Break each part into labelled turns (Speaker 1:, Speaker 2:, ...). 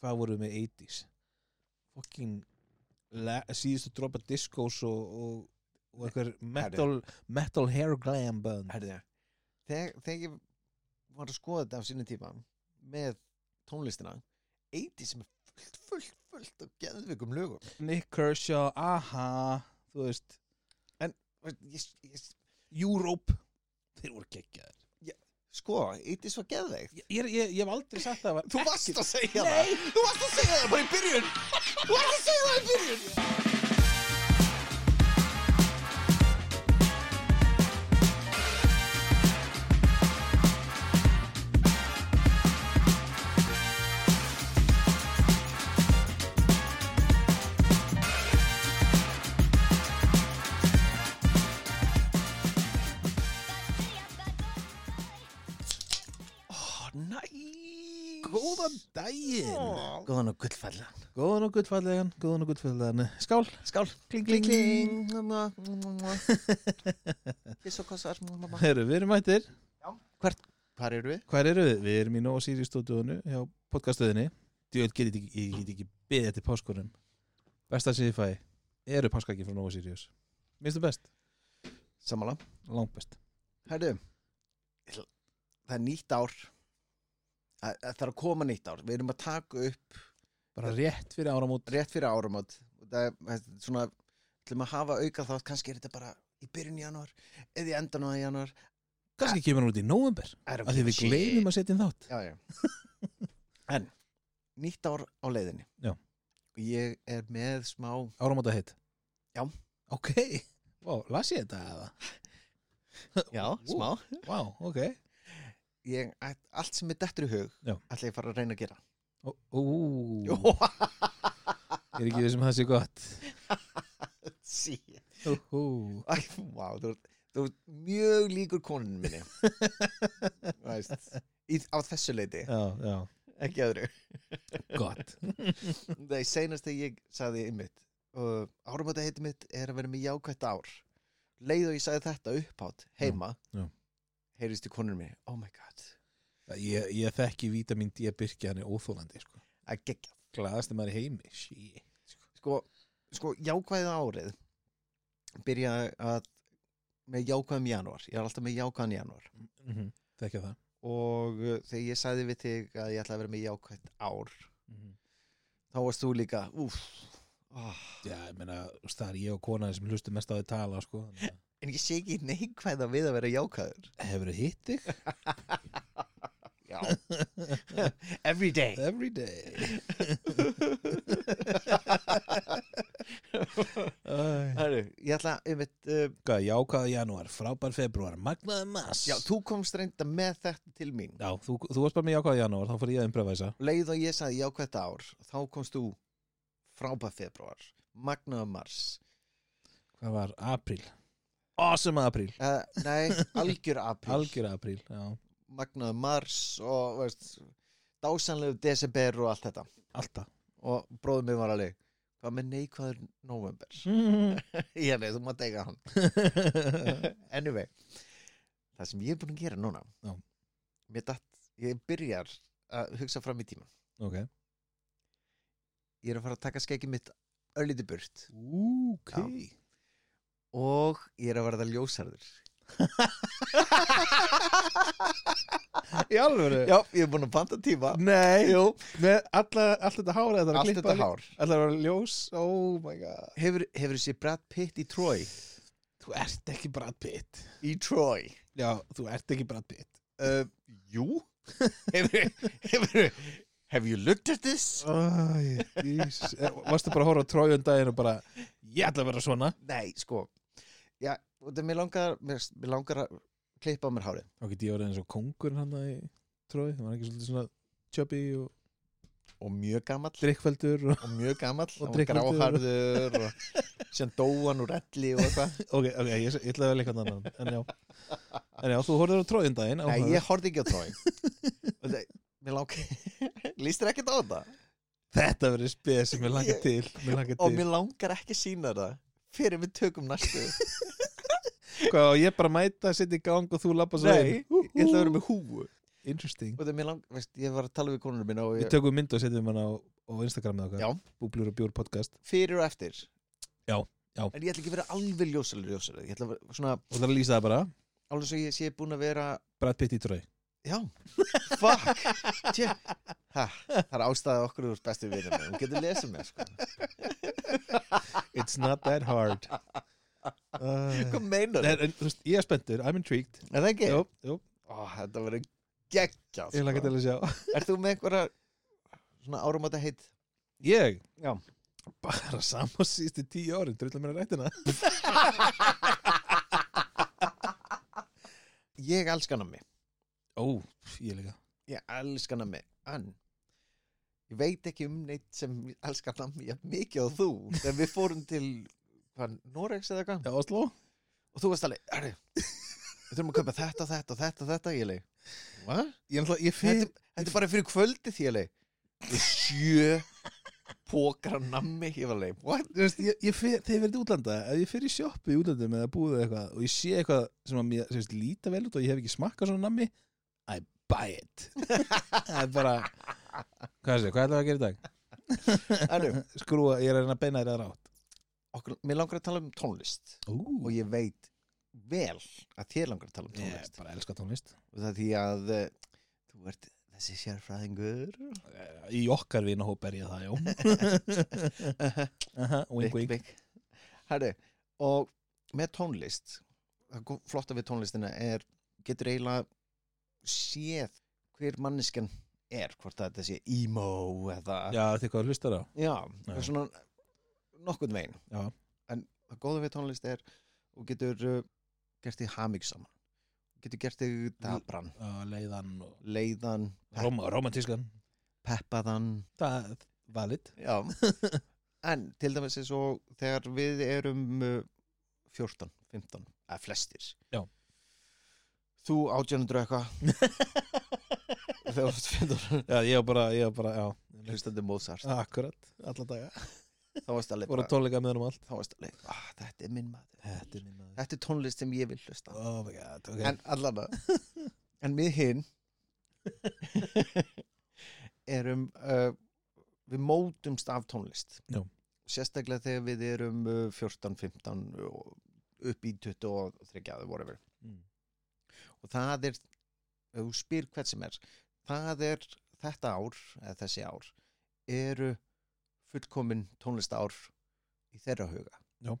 Speaker 1: hvað voru með 80s fucking la- síðustu dropa discos og, og, og eitthvað metal, metal hair glam band
Speaker 2: Herðu, þegar, þegar ég var að skoða þetta á sinni tíma með tónlistina 80 sem er fullt, fullt, fullt af geðvikum lögum
Speaker 1: Nick Kershaw, aha þú veist,
Speaker 2: Þú veist, ég, ég,
Speaker 1: Europe þeir voru geggjaðir
Speaker 2: Sko, 80 var geðveikt
Speaker 1: ég, ég, ég, ég hef aldrei sagt það var
Speaker 2: Þú varst að segja það Þú varst að segja það bara í byrjun Þú varst að segja það í byrjun Ó, næs
Speaker 1: góðan daginn
Speaker 2: Ó, Góðan og gullfalla
Speaker 1: góðan og guttfallegan, góðan og guttfallegan skál,
Speaker 2: Skál
Speaker 1: kling
Speaker 2: Kling,
Speaker 1: kling
Speaker 2: kling Kiss og kossar
Speaker 1: Heru, við erum mættir,
Speaker 2: Hvar eru við?
Speaker 1: hvað eru við? Við erum í Nova Sirius stúdíónu hjá podcastöðinni Djöld get ekki, ég get ekki beðið eftir páskurum besta sem ég fæ eru páskakinn frá Nova Sirius minnst þú best,
Speaker 2: Samála
Speaker 1: langt best
Speaker 2: Herðu Það er nýtt ár Það það þarf að koma nýtt ár Við erum að taka upp
Speaker 1: bara rétt fyrir áramót
Speaker 2: rétt fyrir áramót og það er það er svona ætlum að hafa auka þátt, kannski er þetta bara í byrjun janúar, eða í endan á janúar
Speaker 1: kannski kemur hann út í november af því við gleymum að setja inn þátt
Speaker 2: já, já. en, nýtt ár á leiðinni
Speaker 1: Já.
Speaker 2: og ég er með smá
Speaker 1: áramóta hitt
Speaker 2: Já.
Speaker 1: ok, wow, las ég þetta eða?
Speaker 2: já,
Speaker 1: smá. wow, ok
Speaker 2: ég, allt sem er dettur í hug
Speaker 1: Já. Mm.
Speaker 2: ætla ég að fara að reyna að gera
Speaker 1: Ó, ó, er ekki þessum það sé gott
Speaker 2: sí
Speaker 1: ó, ó.
Speaker 2: Æ, vá, þú ert þú ert mjög líkur konunum minni Þú veist, í, á þessu leiti,
Speaker 1: já, já,
Speaker 2: ekki öðru
Speaker 1: gott
Speaker 2: Nei, seinast þegar ég sagði ymmit og áramóta heiti mitt er að vera með jákvætt ár leið og ég sagði þetta upphátt heima
Speaker 1: Já, já.
Speaker 2: heyrist í konunum mér, oh my god
Speaker 1: ég, ég þekki vítamin D byrkja hann er óþólandi sko.
Speaker 2: að gegja,
Speaker 1: glæðast maður í heimi Shit.
Speaker 2: sko, sko jákvæða árið byrja að með jákvæðum janúar, ég er alltaf með jákvæðan janúar
Speaker 1: mm
Speaker 2: Mhm.
Speaker 1: -hmm. þekki það
Speaker 2: og uh, þegar ég sagði við þig að ég ætla að vera með jákvætt ár
Speaker 1: mm
Speaker 2: Mhm. þá varst þú líka, úff oh.
Speaker 1: já, ég meina, þú veist, það er ég og konan sem hlustu mest á því tala sko. þannig að-
Speaker 2: en ég sé ekki neikvæða við að vera jákvæður
Speaker 1: hefur þið hitt þig?
Speaker 2: já, every day
Speaker 1: every day Æ.
Speaker 2: Heru, ég ætla einmitt, uh,
Speaker 1: Hvað, jákvæða janúar, frábær februar magnaði mass
Speaker 2: já, þú komst reynda með þetta til mín
Speaker 1: Já, þú, þú varst bara með jákvæða janúar, þá fór ég að improvisa
Speaker 2: leið og ég sagði já hvert ár þá komst þú frábæð februar magnaðum mars
Speaker 1: hvað var apríl awesome apríl,
Speaker 2: uh, nei, algjör apríl
Speaker 1: algjör apríl já.
Speaker 2: magnaðum mars og veist, dásanlegu desember og allt þetta
Speaker 1: alltaf
Speaker 2: og bróðum minn var alveg hvað með neikvæður november ég veit, þú mátt eiga hann anyway, það sem ég er búin að gera núna
Speaker 1: Já.
Speaker 2: mér datt, ég byrjar að hugsa fram í tíma
Speaker 1: ok
Speaker 2: ég er að fara að taka skeggi mitt örlítið burt
Speaker 1: ok
Speaker 2: og ég er að verða ljósarður
Speaker 1: í alvöru
Speaker 2: já, ég er búin að panta tíma
Speaker 1: nei,
Speaker 2: Jú,
Speaker 1: með alla, allt þetta hár allt
Speaker 2: allt þetta hár
Speaker 1: allt þetta hár ljós, oh my god
Speaker 2: hefur, hefur sér Brad Pitt í Troy
Speaker 1: þú ert ekki Brad Pitt
Speaker 2: í Troy
Speaker 1: já, þú ert ekki Brad Pitt
Speaker 2: uh, jú hefur, hefur have you looked at this
Speaker 1: Æ, Jesus. Eh, varstu bara að horfa á trójum daginn og bara ég ætla að vera svona
Speaker 2: nei, sko já, og það mér langar mér, mér langar að klippa á mér hárið
Speaker 1: þá get ég orðið eins og kongur hann í trói, það var ekki svolítið svona chubby og
Speaker 2: og mjög gamall
Speaker 1: drikkveldur og...
Speaker 2: og mjög gamall
Speaker 1: Og
Speaker 2: og, og
Speaker 1: drykkfelldur.
Speaker 2: gráharður og sem dóan úr elli og eitthvað
Speaker 1: ok, ok, ég, ég ætla að vera leikand annan en já, en já þú horfður á trójum daginn
Speaker 2: Nei,
Speaker 1: áhugavert.
Speaker 2: ég horfði ekki á Troy Og það- Mér langar Lýstir ekkert á þetta
Speaker 1: Þetta verður spes sem ég langa
Speaker 2: Ég-
Speaker 1: til, ég langa
Speaker 2: Og
Speaker 1: til.
Speaker 2: mér langar ekki að sína það Fyrir við tökum næstu
Speaker 1: Hvað, og ég bara mæta, setja í gang og þú lappa svo
Speaker 2: Nei,
Speaker 1: inn.
Speaker 2: ég ætla að vera með húu
Speaker 1: Interesting
Speaker 2: Og það mér langar, veist, ég var að tala við konunum minna Og
Speaker 1: Við
Speaker 2: ég,
Speaker 1: tökum mynd og setjum hann á, og Instagramið okkar
Speaker 2: Já.
Speaker 1: Búblur og bjór podcast
Speaker 2: fyrir og eftir
Speaker 1: Já, já.
Speaker 2: en ég ætla ekki að vera alveg ljósalur ljósalur ég ætla að vera svona
Speaker 1: og það er að lýsa það bara
Speaker 2: alveg svo ég sé búin að vera
Speaker 1: Brad Pitt í trói
Speaker 2: já, fuck Tjö. ha, það er ástæða okkur úr bestu vinur minn. hún getur lesið mér sko.
Speaker 1: It's not that hard uh,
Speaker 2: hvað meinar
Speaker 1: Nei, en, þú veist, ég er spenntur, I'm intrigued
Speaker 2: er það ekki?
Speaker 1: Jú, jú,
Speaker 2: Ó, þetta verður geggjað
Speaker 1: ég laka
Speaker 2: sko.
Speaker 1: til að sjá
Speaker 2: er þú með einhverja svona áramata heitt
Speaker 1: Ég?
Speaker 2: Já.
Speaker 1: Bara saman síðustu tíu árin, drullar mér að rættina
Speaker 2: ég elskan að mig
Speaker 1: Ó, ég líka
Speaker 2: ég elskan að mig en ég veit ekki um neitt sem elskan að mig jafn mikið og þú þegar við fórum til hvað, Noregs eða eitthvað
Speaker 1: Já, Oslo?
Speaker 2: og þú varst alveg "Herri, við þurfum að kaupa þetta, þetta, þetta, þetta ég leik What?
Speaker 1: Ég, náttúrulega- ég
Speaker 2: Þetta,
Speaker 1: fyrir
Speaker 2: þetta er bara fyrir kvöldið ég leik við sjö pókar að nammi ég var leik What?
Speaker 1: Þú veist, ég, ég fer, þegar ég verið útlanda ef ég fer í sjoppu í útlandum eða búið eða eitthvað og ég sé eitthvað sem að mér sem veist, líta vel út og ég hef ekki smakkað svona nammi I buy it það er bara hvað sé, hvað ætlaðu að gera í dag?
Speaker 2: Herru,
Speaker 1: skrúa, ég er að reyna að beina þér að rátt
Speaker 2: okkur, mér langar að tala um tónlist og
Speaker 1: Ú,
Speaker 2: ég veit vel að þér langar að tala um
Speaker 1: ég
Speaker 2: tónlist
Speaker 1: bara elska tónlist
Speaker 2: og það er því að eh, þú ert þessi sérfræðingur
Speaker 1: í okkar vinahóp er ég það, já Aha, wink, wink
Speaker 2: big. Herri, og með tónlist það gó- flotta við tónlistina er getur eiginlega séð hver manniskan er hvort að þetta sé emo eða
Speaker 1: já, þið hvað hlustar á
Speaker 2: já,
Speaker 1: Já.
Speaker 2: það er svona nokkurn veginn
Speaker 1: Já.
Speaker 2: en það góða við tónlist er og getur uh, gert þig hamig saman getur gert þig dabran,
Speaker 1: uh, leiðan og
Speaker 2: leiðan pep,
Speaker 1: Roma, romantískan
Speaker 2: peppaðan
Speaker 1: það er valid
Speaker 2: Já, en til dæmis eins og þegar við erum uh, 14, 15, eða flestir
Speaker 1: Já.
Speaker 2: Þú átjöndur eitthvað Þegar þú varst 15
Speaker 1: já, ég var bara, ég var bara, já
Speaker 2: Hlustandi Mozart,
Speaker 1: akkurat, alla daga
Speaker 2: þá varst alveg
Speaker 1: voru
Speaker 2: bara,
Speaker 1: tónleika með honum allt
Speaker 2: þá varst alveg, ah, þetta er minn maður
Speaker 1: Þetta er minn maður
Speaker 2: Þetta er tónlist sem ég vil hlusta á.
Speaker 1: Oh my god, ok
Speaker 2: En allan að En við hinn erum uh, við mótumst af tónlist
Speaker 1: Já.
Speaker 2: sérstaklega þegar við erum uh, 14, 15 og upp í 23 eða whatever
Speaker 1: Mm.
Speaker 2: og það er ef þú spyr hvert sem er það er þetta ár eða þessi ár eru fullkomin tónlistár í þeirra huga
Speaker 1: Já.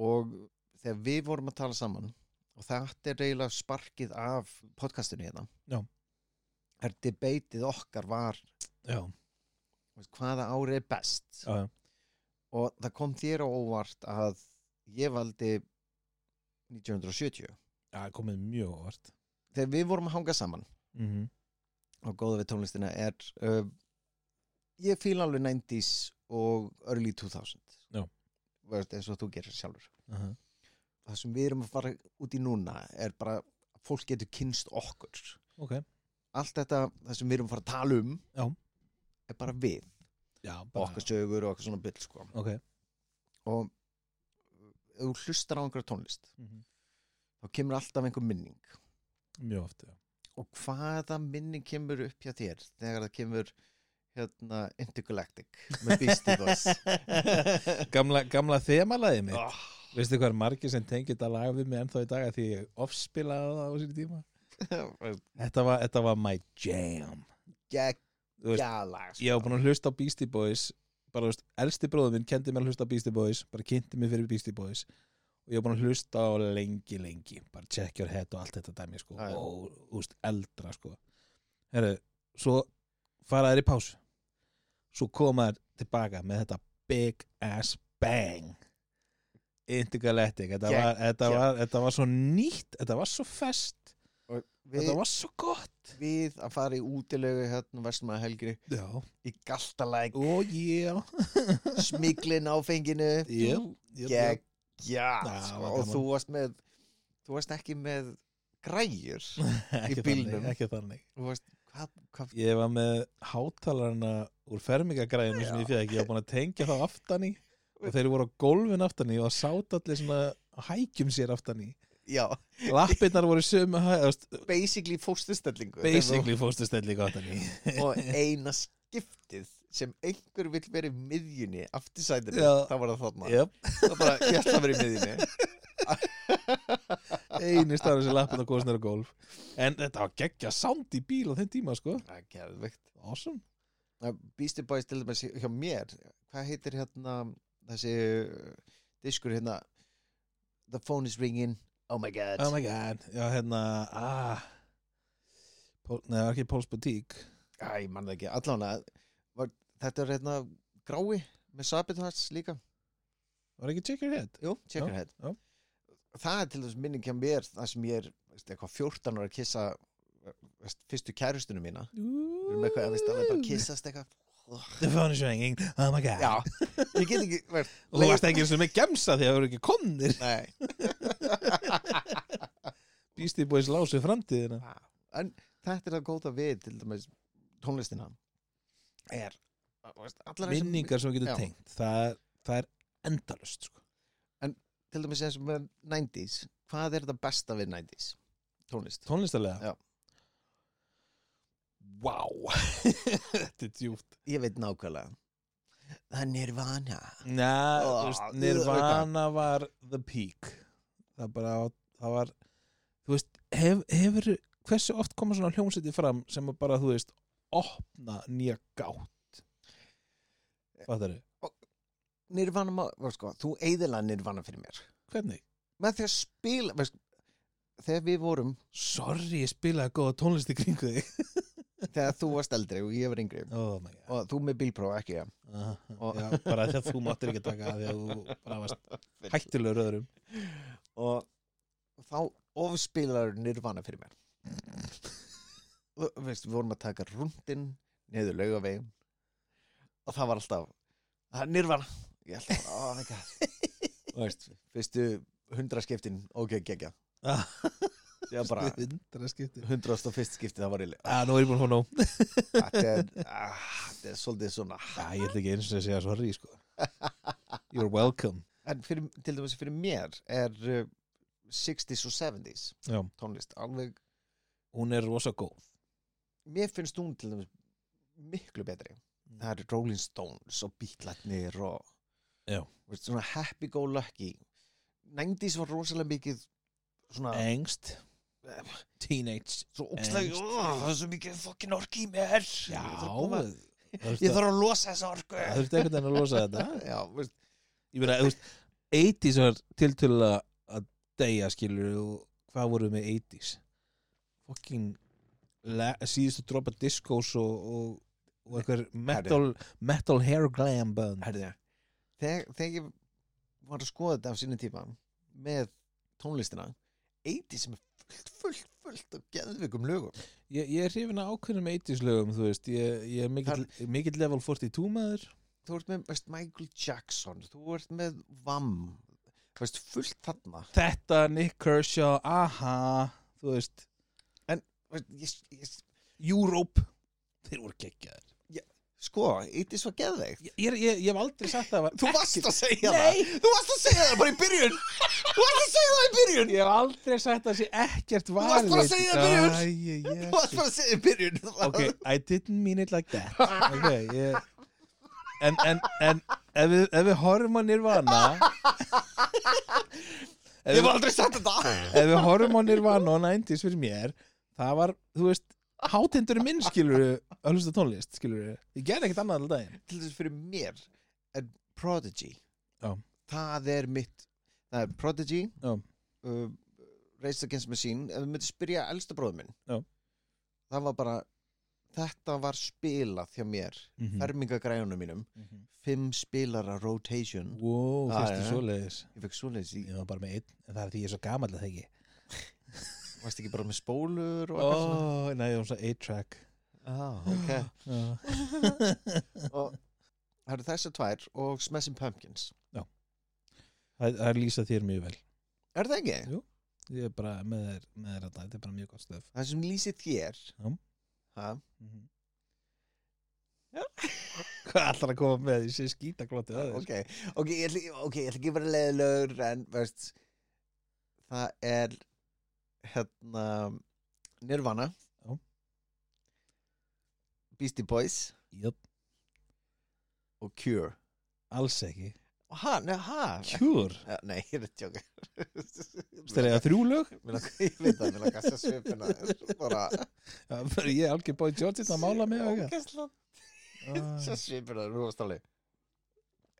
Speaker 2: og þegar við vorum að tala saman og þetta er eiginlega sparkið af podcastinu hérna
Speaker 1: Já.
Speaker 2: er debatið okkar var
Speaker 1: Já,
Speaker 2: þú veist, hvaða ári er best
Speaker 1: já, já.
Speaker 2: og það kom þér á óvart að ég valdi 1970
Speaker 1: já komið mjög óvart
Speaker 2: þegar við vorum að hanga saman
Speaker 1: mm -hmm.
Speaker 2: og góða við tónlistina er uh, ég fíla alveg 90s og early 2000
Speaker 1: Já.
Speaker 2: Vörst, eins og þú gerir sjálfur
Speaker 1: uh -huh.
Speaker 2: það sem við erum að fara út í núna er bara að fólk getur kynst okkur
Speaker 1: Ok,
Speaker 2: allt þetta, það sem við erum að fara að tala um
Speaker 1: Já.
Speaker 2: er bara við
Speaker 1: já, bara
Speaker 2: okkar sögur og okkar svona byll sko.
Speaker 1: Ok
Speaker 2: og ef þú hlustar á einhverja tónlist
Speaker 1: mm -hmm.
Speaker 2: þá kemur alltaf einhver minning
Speaker 1: Mjög oft, já
Speaker 2: og hvaða minning kemur upp hjá þér þegar það kemur hérna Intergalactic með Beastie Boys
Speaker 1: Gamla, gamla þemalæði mitt
Speaker 2: oh,
Speaker 1: Veistu hvað er margir sem tengið þetta lag við mig ennþá í dag af Því ég offspilaði það á sér tíma Þetta var, þetta var my jam Þú veist,
Speaker 2: geggjala
Speaker 1: Ég var búin að hlusta á Beastie Boys Bara, þú veist, elsti bróðum minn kendi mér að hlusta á Beastie Boys Bara kynnti mér fyrir Beastie Boys Og ég var búin að hlusta á lengi, lengi Bara check your head og allt þetta dæmi, sko
Speaker 2: Já, já.
Speaker 1: Og, þú veist, eldra, sko Herru, svo fara þær í pásu Svo koma þær tilbaka með þetta big ass bang Intergalactic Þetta,
Speaker 2: Gegg-
Speaker 1: var, þetta, var, þetta var svo nýtt Þetta var svo fest
Speaker 2: við,
Speaker 1: Þetta var svo gott
Speaker 2: við að fara í útilegu hérna vestum að helgri
Speaker 1: Já,
Speaker 2: í galtalæk
Speaker 1: og ég
Speaker 2: smiglin áfenginu
Speaker 1: Jú, jú, jú.
Speaker 2: geggjala
Speaker 1: Já,
Speaker 2: sko.
Speaker 1: var
Speaker 2: og
Speaker 1: gaman.
Speaker 2: þú varst með þú varst ekki með græjur
Speaker 1: ekki
Speaker 2: bílnum.
Speaker 1: þannig, ekki þannig
Speaker 2: þú varst hvað, hvað
Speaker 1: ég var með hátalarna úr fermingagræðinu sem
Speaker 2: Já.
Speaker 1: ég fekk, ég var búin að tengja þá aftan í og þeir voru á gólfin aftan í og sátt allir svona á hækjum sér aftan í
Speaker 2: já,
Speaker 1: lappirnar voru sömu hæ- þú veist,
Speaker 2: basically fóstustellingu
Speaker 1: basically fóstustelli aftan í
Speaker 2: og eina skiptið sem einhver vill vera í miðjunni aftursætinu,
Speaker 1: Já.
Speaker 2: það var það þarna
Speaker 1: Jöp,
Speaker 2: það bara, ég ætla að vera í miðjunni
Speaker 1: eini staður sem lappin á kostnir á golf En þetta var geggja sound í bíl á þeim tíma, sko
Speaker 2: það er geðveikt
Speaker 1: Awesome
Speaker 2: Að Beastie Boys til dæmis hjá mér hvað heitir hérna þessi uh, diskur hérna The phone is ringing, oh my god
Speaker 1: Oh my god, já hérna ah. Pól, Nei, það var ekki Póls Boutique
Speaker 2: Æ, ég man það ekki, allan að var, þetta er hérna grái með Sabotage líka,
Speaker 1: Var ekki Check Your Head?
Speaker 2: jú, Checkerhead
Speaker 1: já.
Speaker 2: það er til þess minning hjá mér það sem ég er, veist, eitthvað 14 ára að kissa veist, fyrstu kærustunum mína við erum eitthvað, veist, alveg bara að kissast eitthvað
Speaker 1: The phone is ringing, oh my god
Speaker 2: já, ég get ekki veist,
Speaker 1: Og þú varst ekki eins og með gemsa því að það voru ekki komnir
Speaker 2: nei
Speaker 1: Beastie Boys lásu framtíðina
Speaker 2: en þetta er það góða við til dæmis tónlistina er veist, allar þessar-
Speaker 1: Minningar sem við
Speaker 2: Já.
Speaker 1: getum tengt Það, það er endalust, sko
Speaker 2: til dæmis eins og með 90s hvað er það besta við 90s tónlist
Speaker 1: Tónlistarlega
Speaker 2: Já.
Speaker 1: Vá Þetta er djúpt
Speaker 2: ég veit nákvæmlega það er nirvana
Speaker 1: Næ,
Speaker 2: Ó,
Speaker 1: þú veist, Nirvana var the peak Það bara, það var Þú veist, hef, hefur Hversu oft koma svona hljómsæti fram sem að bara, þú veist, opna nýja gátt Hvað það eru?
Speaker 2: nirvana, má- var, sko, þú eiðilega nirvana fyrir mér
Speaker 1: Hvernig?
Speaker 2: með því að spila veist, þegar við vorum,
Speaker 1: Sorry, ég spilaði góða tónlist í kringu þig
Speaker 2: þegar þú varst eldri og ég var yngri
Speaker 1: Oh my god
Speaker 2: og þú með bílpróf ekki ja.
Speaker 1: Aha,
Speaker 2: Og-
Speaker 1: Já, bara því að þú máttir ekki taka af því að þú bara varst hættulegur öðrum
Speaker 2: og þá ofspilar nirvana fyrir mér og, veist, við vorum að taka rundin niður laugavegin og það var alltaf það er nirvana ég alltaf, oh my god og veist, fyrstu hundra skiptin ok, geggja
Speaker 1: Ah.
Speaker 2: ég var bara,
Speaker 1: Hundra skipti
Speaker 2: hundrast og fyrst skipti það var ég,
Speaker 1: Já, nú er ég búin að fá nóg
Speaker 2: þetta er ah, þetta er svolítið svona
Speaker 1: Já, ég ætla ekki eins og að segja sorry, sko You're welcome
Speaker 2: en fyrir, til dæmis fyrir mér er uh, 60s og 70s
Speaker 1: Já.
Speaker 2: tónlist, alveg
Speaker 1: Hún er rosa góð
Speaker 2: mér finnst hún til dæmis miklu betri
Speaker 1: Mm.
Speaker 2: það eru Rolling Stones og Beatlatnir og
Speaker 1: Já.
Speaker 2: veist, svona happy go lucky 90s var rosalega mikið svona
Speaker 1: Engst Teenage
Speaker 2: svo ókslega,
Speaker 1: Angst.
Speaker 2: "Ugh, það er svo mikið fokkin orki í mér
Speaker 1: Já,
Speaker 2: ég þarf að,
Speaker 1: það
Speaker 2: koma-
Speaker 1: þurfti
Speaker 2: ég
Speaker 1: að-
Speaker 2: þarf að losa þessa orku
Speaker 1: það þurfti einhvern veginn að losa þetta
Speaker 2: já, veist,
Speaker 1: Ég meina, þú veist 80s var tiltölulega að deyja, skilur og hvað voru með 80s? Fucking la- síðustu dropa discos og, og, og einhver metal, metal hair glam band
Speaker 2: herði þegar, þegar ég var að skoða þetta á sínum tíma með tónlistina 80s sem er fullt, fullt, fullt af geðvikum lögum
Speaker 1: Ég, ég er hrifin að ákveðnum 80s lögum, þú veist Ég, ég er mikill, mikill level 42 maður
Speaker 2: þú ert með veist, Michael Jackson þú ert með Vam veist, fullt þarna
Speaker 1: Þetta, Nick Kershaw, aha Þú veist,
Speaker 2: veist, ég, ég,
Speaker 1: Europe Þeir voru geggjaðir
Speaker 2: sko, Ítis var geðveikt
Speaker 1: Ég, ég, ég, ég hef aldrei sagt það var
Speaker 2: þú varst að segja
Speaker 1: Nei.
Speaker 2: það þú varst að segja það bara í byrjun þú varst að segja það í byrjun
Speaker 1: Ég hef aldrei sagt það sé ekkert
Speaker 2: varst
Speaker 1: valið
Speaker 2: bara að segja það fyrir þér.
Speaker 1: fyrir
Speaker 2: þú varst bara að segja það í byrjun
Speaker 1: Ok, I didn't mean it like that Ok, ég En, en, en ef við, ef við horfum á Nirvana ef,
Speaker 2: ég
Speaker 1: við-
Speaker 2: var aldrei sagt þetta
Speaker 1: ef við horfum á Nirvana og 90s fyrir mér Það var, þú veist, hátindur minn skilur að hlusta á tónlist skilur Ég gerði ekkert annað alltaf daginn
Speaker 2: til þess fyrir mér er Prodigy
Speaker 1: Já.
Speaker 2: það er mitt það er Prodigy
Speaker 1: Já.
Speaker 2: uh, Race Against the Machine ef við myndum spyrja elsta bróðum minn
Speaker 1: Já.
Speaker 2: það var bara þetta var spilað hjá mér
Speaker 1: Hmm.
Speaker 2: mm. fermingagræjunum mínum fimm spilara rotation
Speaker 1: Wow,
Speaker 2: Ah,
Speaker 1: fyrstu
Speaker 2: já.
Speaker 1: svoleiðis
Speaker 2: ég fekk svoleiðis í
Speaker 1: Ég var bara með einn, en það er því ég er svo gamall að það ekki
Speaker 2: varst ekki bara með spólur og eitthvað svona?
Speaker 1: Ó, næ, ég var svo 8-track
Speaker 2: ah, okay.
Speaker 1: Já.
Speaker 2: og það eru þessar tvær og Smashing Pumpkins
Speaker 1: Það það lýsa þér mjög vel
Speaker 2: er það ekki?
Speaker 1: Ég er bara með þér, með þér að þetta, þetta er bara mjög gott stöf
Speaker 2: það sem lýsir þér
Speaker 1: Já.
Speaker 2: ha?
Speaker 1: Hvað ætlar að koma með því sé skítaglótið að þér?
Speaker 2: ok, ok, ég ætla ok, ég ætla ekki að vera leiðilegur en veist það er hérna Nirvana
Speaker 1: Já.
Speaker 2: Beastie Boys
Speaker 1: Jöp,
Speaker 2: og Cure
Speaker 1: alls ekki
Speaker 2: og ha, nei, ha
Speaker 1: Cure,
Speaker 2: Ja, nei, ég er að tjóka
Speaker 1: styrja þrjú lög
Speaker 2: Mér langar- ég veit að mér laka að svipina bara
Speaker 1: Já, bara ég er algjör bóið George að mála mig og eitthvað.
Speaker 2: ógæsla
Speaker 1: Æ.
Speaker 2: svo svipir það rúfastáli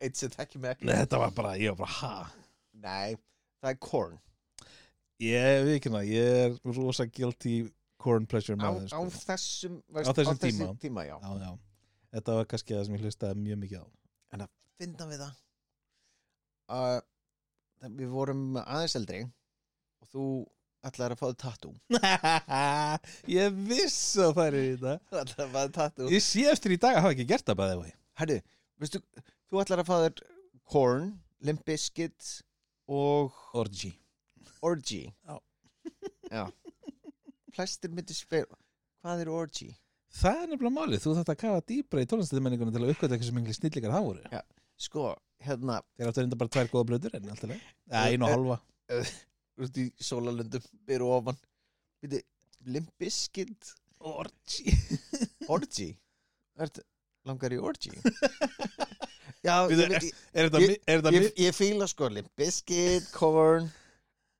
Speaker 2: eitt sem tekki mig ekki
Speaker 1: Nei, þetta var bara, ég var bara, ha
Speaker 2: nei, það er Korn
Speaker 1: ég við ekki hérna, ég er rosa guilty corn pressure
Speaker 2: á,
Speaker 1: maður
Speaker 2: á
Speaker 1: sko.
Speaker 2: þessum
Speaker 1: Á þessum tíma.
Speaker 2: tíma já.
Speaker 1: já, já. þetta var kannski það sem ég hlustaði mjög mikið á
Speaker 2: en að finna við það uh, það- við vorum aðeins eldri og þú ætlaðir að fá þið tattoo
Speaker 1: ég viss að það er í þetta
Speaker 2: þú ætlaðir að fá þið tattoo
Speaker 1: ég sé eftir í dag að hafa ekki gert það bæði vei
Speaker 2: herru, veistu, þú ætlaðir að fá þér Korn, Limp Bizkit og
Speaker 1: orgy
Speaker 2: Orgy
Speaker 1: Já.
Speaker 2: já flestir myndir spyr hvað er Orgy?
Speaker 1: það er nefnilega málið, þú þátt að kafa dýbra í tónlistiðmenningunum til að uppkvæða hversu mingli snillikar það voru
Speaker 2: sko, hérna
Speaker 1: þeir áttu reynda bara tvær góða blöður en alltaf leið ja, einu og halva
Speaker 2: út í sólalöndum byrju ofan Býti, limbiskind
Speaker 1: orgy
Speaker 2: orgy Ertu, langar í orgy já,
Speaker 1: Býtu,
Speaker 2: ég, veit, ég,
Speaker 1: er þetta, mi- er þetta
Speaker 2: ég,
Speaker 1: mi-
Speaker 2: ég fíla sko limbiskid, corn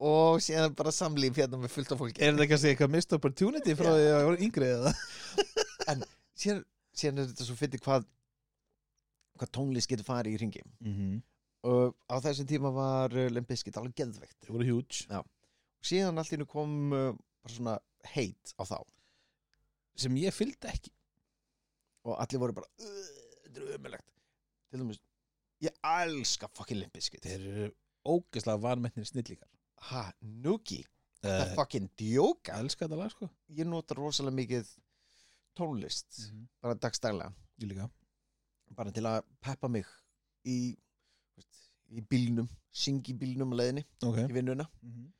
Speaker 2: og síðan bara samlíf hérna með fullt af fólki
Speaker 1: er þetta kannski eitthvað mist opportunity frá
Speaker 2: Já.
Speaker 1: því að ég var yngri eða
Speaker 2: síðan, síðan er þetta svo fyndi hvað hvað tónlist getur farið í ringi
Speaker 1: Mhm.
Speaker 2: og á þessum tíma var limbiskid alveg geðveikt
Speaker 1: þeir voru huge
Speaker 2: síðan allt í hennu kom uh, bara svona heit á þá
Speaker 1: sem ég fylgdi ekki
Speaker 2: og allir voru bara "Ugh, þetta er umjulegt til dæmis ég elska fucking Limp Bizkit
Speaker 1: þeir eru ógeðslega vanmennir snillikar
Speaker 2: ha, Nuki, það er
Speaker 1: uh,
Speaker 2: fucking djóka
Speaker 1: elska þetta lag sko
Speaker 2: ég nota rosalega mikið tónlist
Speaker 1: Mhm.
Speaker 2: bara dagstæla,
Speaker 1: ég líka
Speaker 2: bara til að peppa mig í, þú veist, í bílnum syngi í bílnum á leiðinni
Speaker 1: okay.
Speaker 2: í vinnuna
Speaker 1: mm -hmm.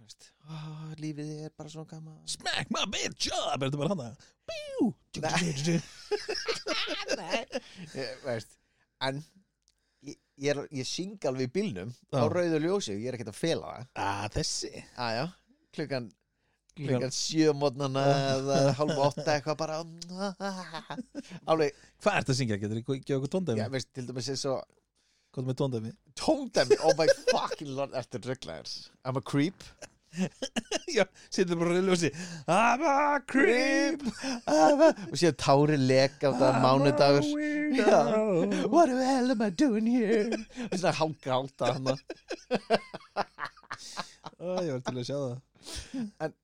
Speaker 2: Þú veist, "Ah, lífið er bara svona gaman
Speaker 1: smack my bitch up er þetta bara hana Bíú!
Speaker 2: Ég- veist, en ég, ég, er- ég syng alveg í bílnum á
Speaker 1: Já.
Speaker 2: rauðu ljósi, ég er ekkert að fela það
Speaker 1: Ah, þessi
Speaker 2: aðja, klukkan
Speaker 1: Klukkan-
Speaker 2: klukkan sjö mótnana eða hálfa átta eitthvað bara "Ah." alveg,
Speaker 1: hvað ert að syngja, getur þið gefa okkur tóndæmi
Speaker 2: já, veist, til dæmis eins og
Speaker 1: hvað er með tóndæmi
Speaker 2: tóndæmi, oh my fucking lord ertu rugglaður, I'm a creep
Speaker 1: já, setur bara reyðlega og sé I'm a creep
Speaker 2: og síðan tári leka á það
Speaker 1: I'm a
Speaker 2: mánudagur
Speaker 1: weirdo.
Speaker 2: what the hell am I doing here og svona hálka átta hana
Speaker 1: Æ, ég var til að sjá það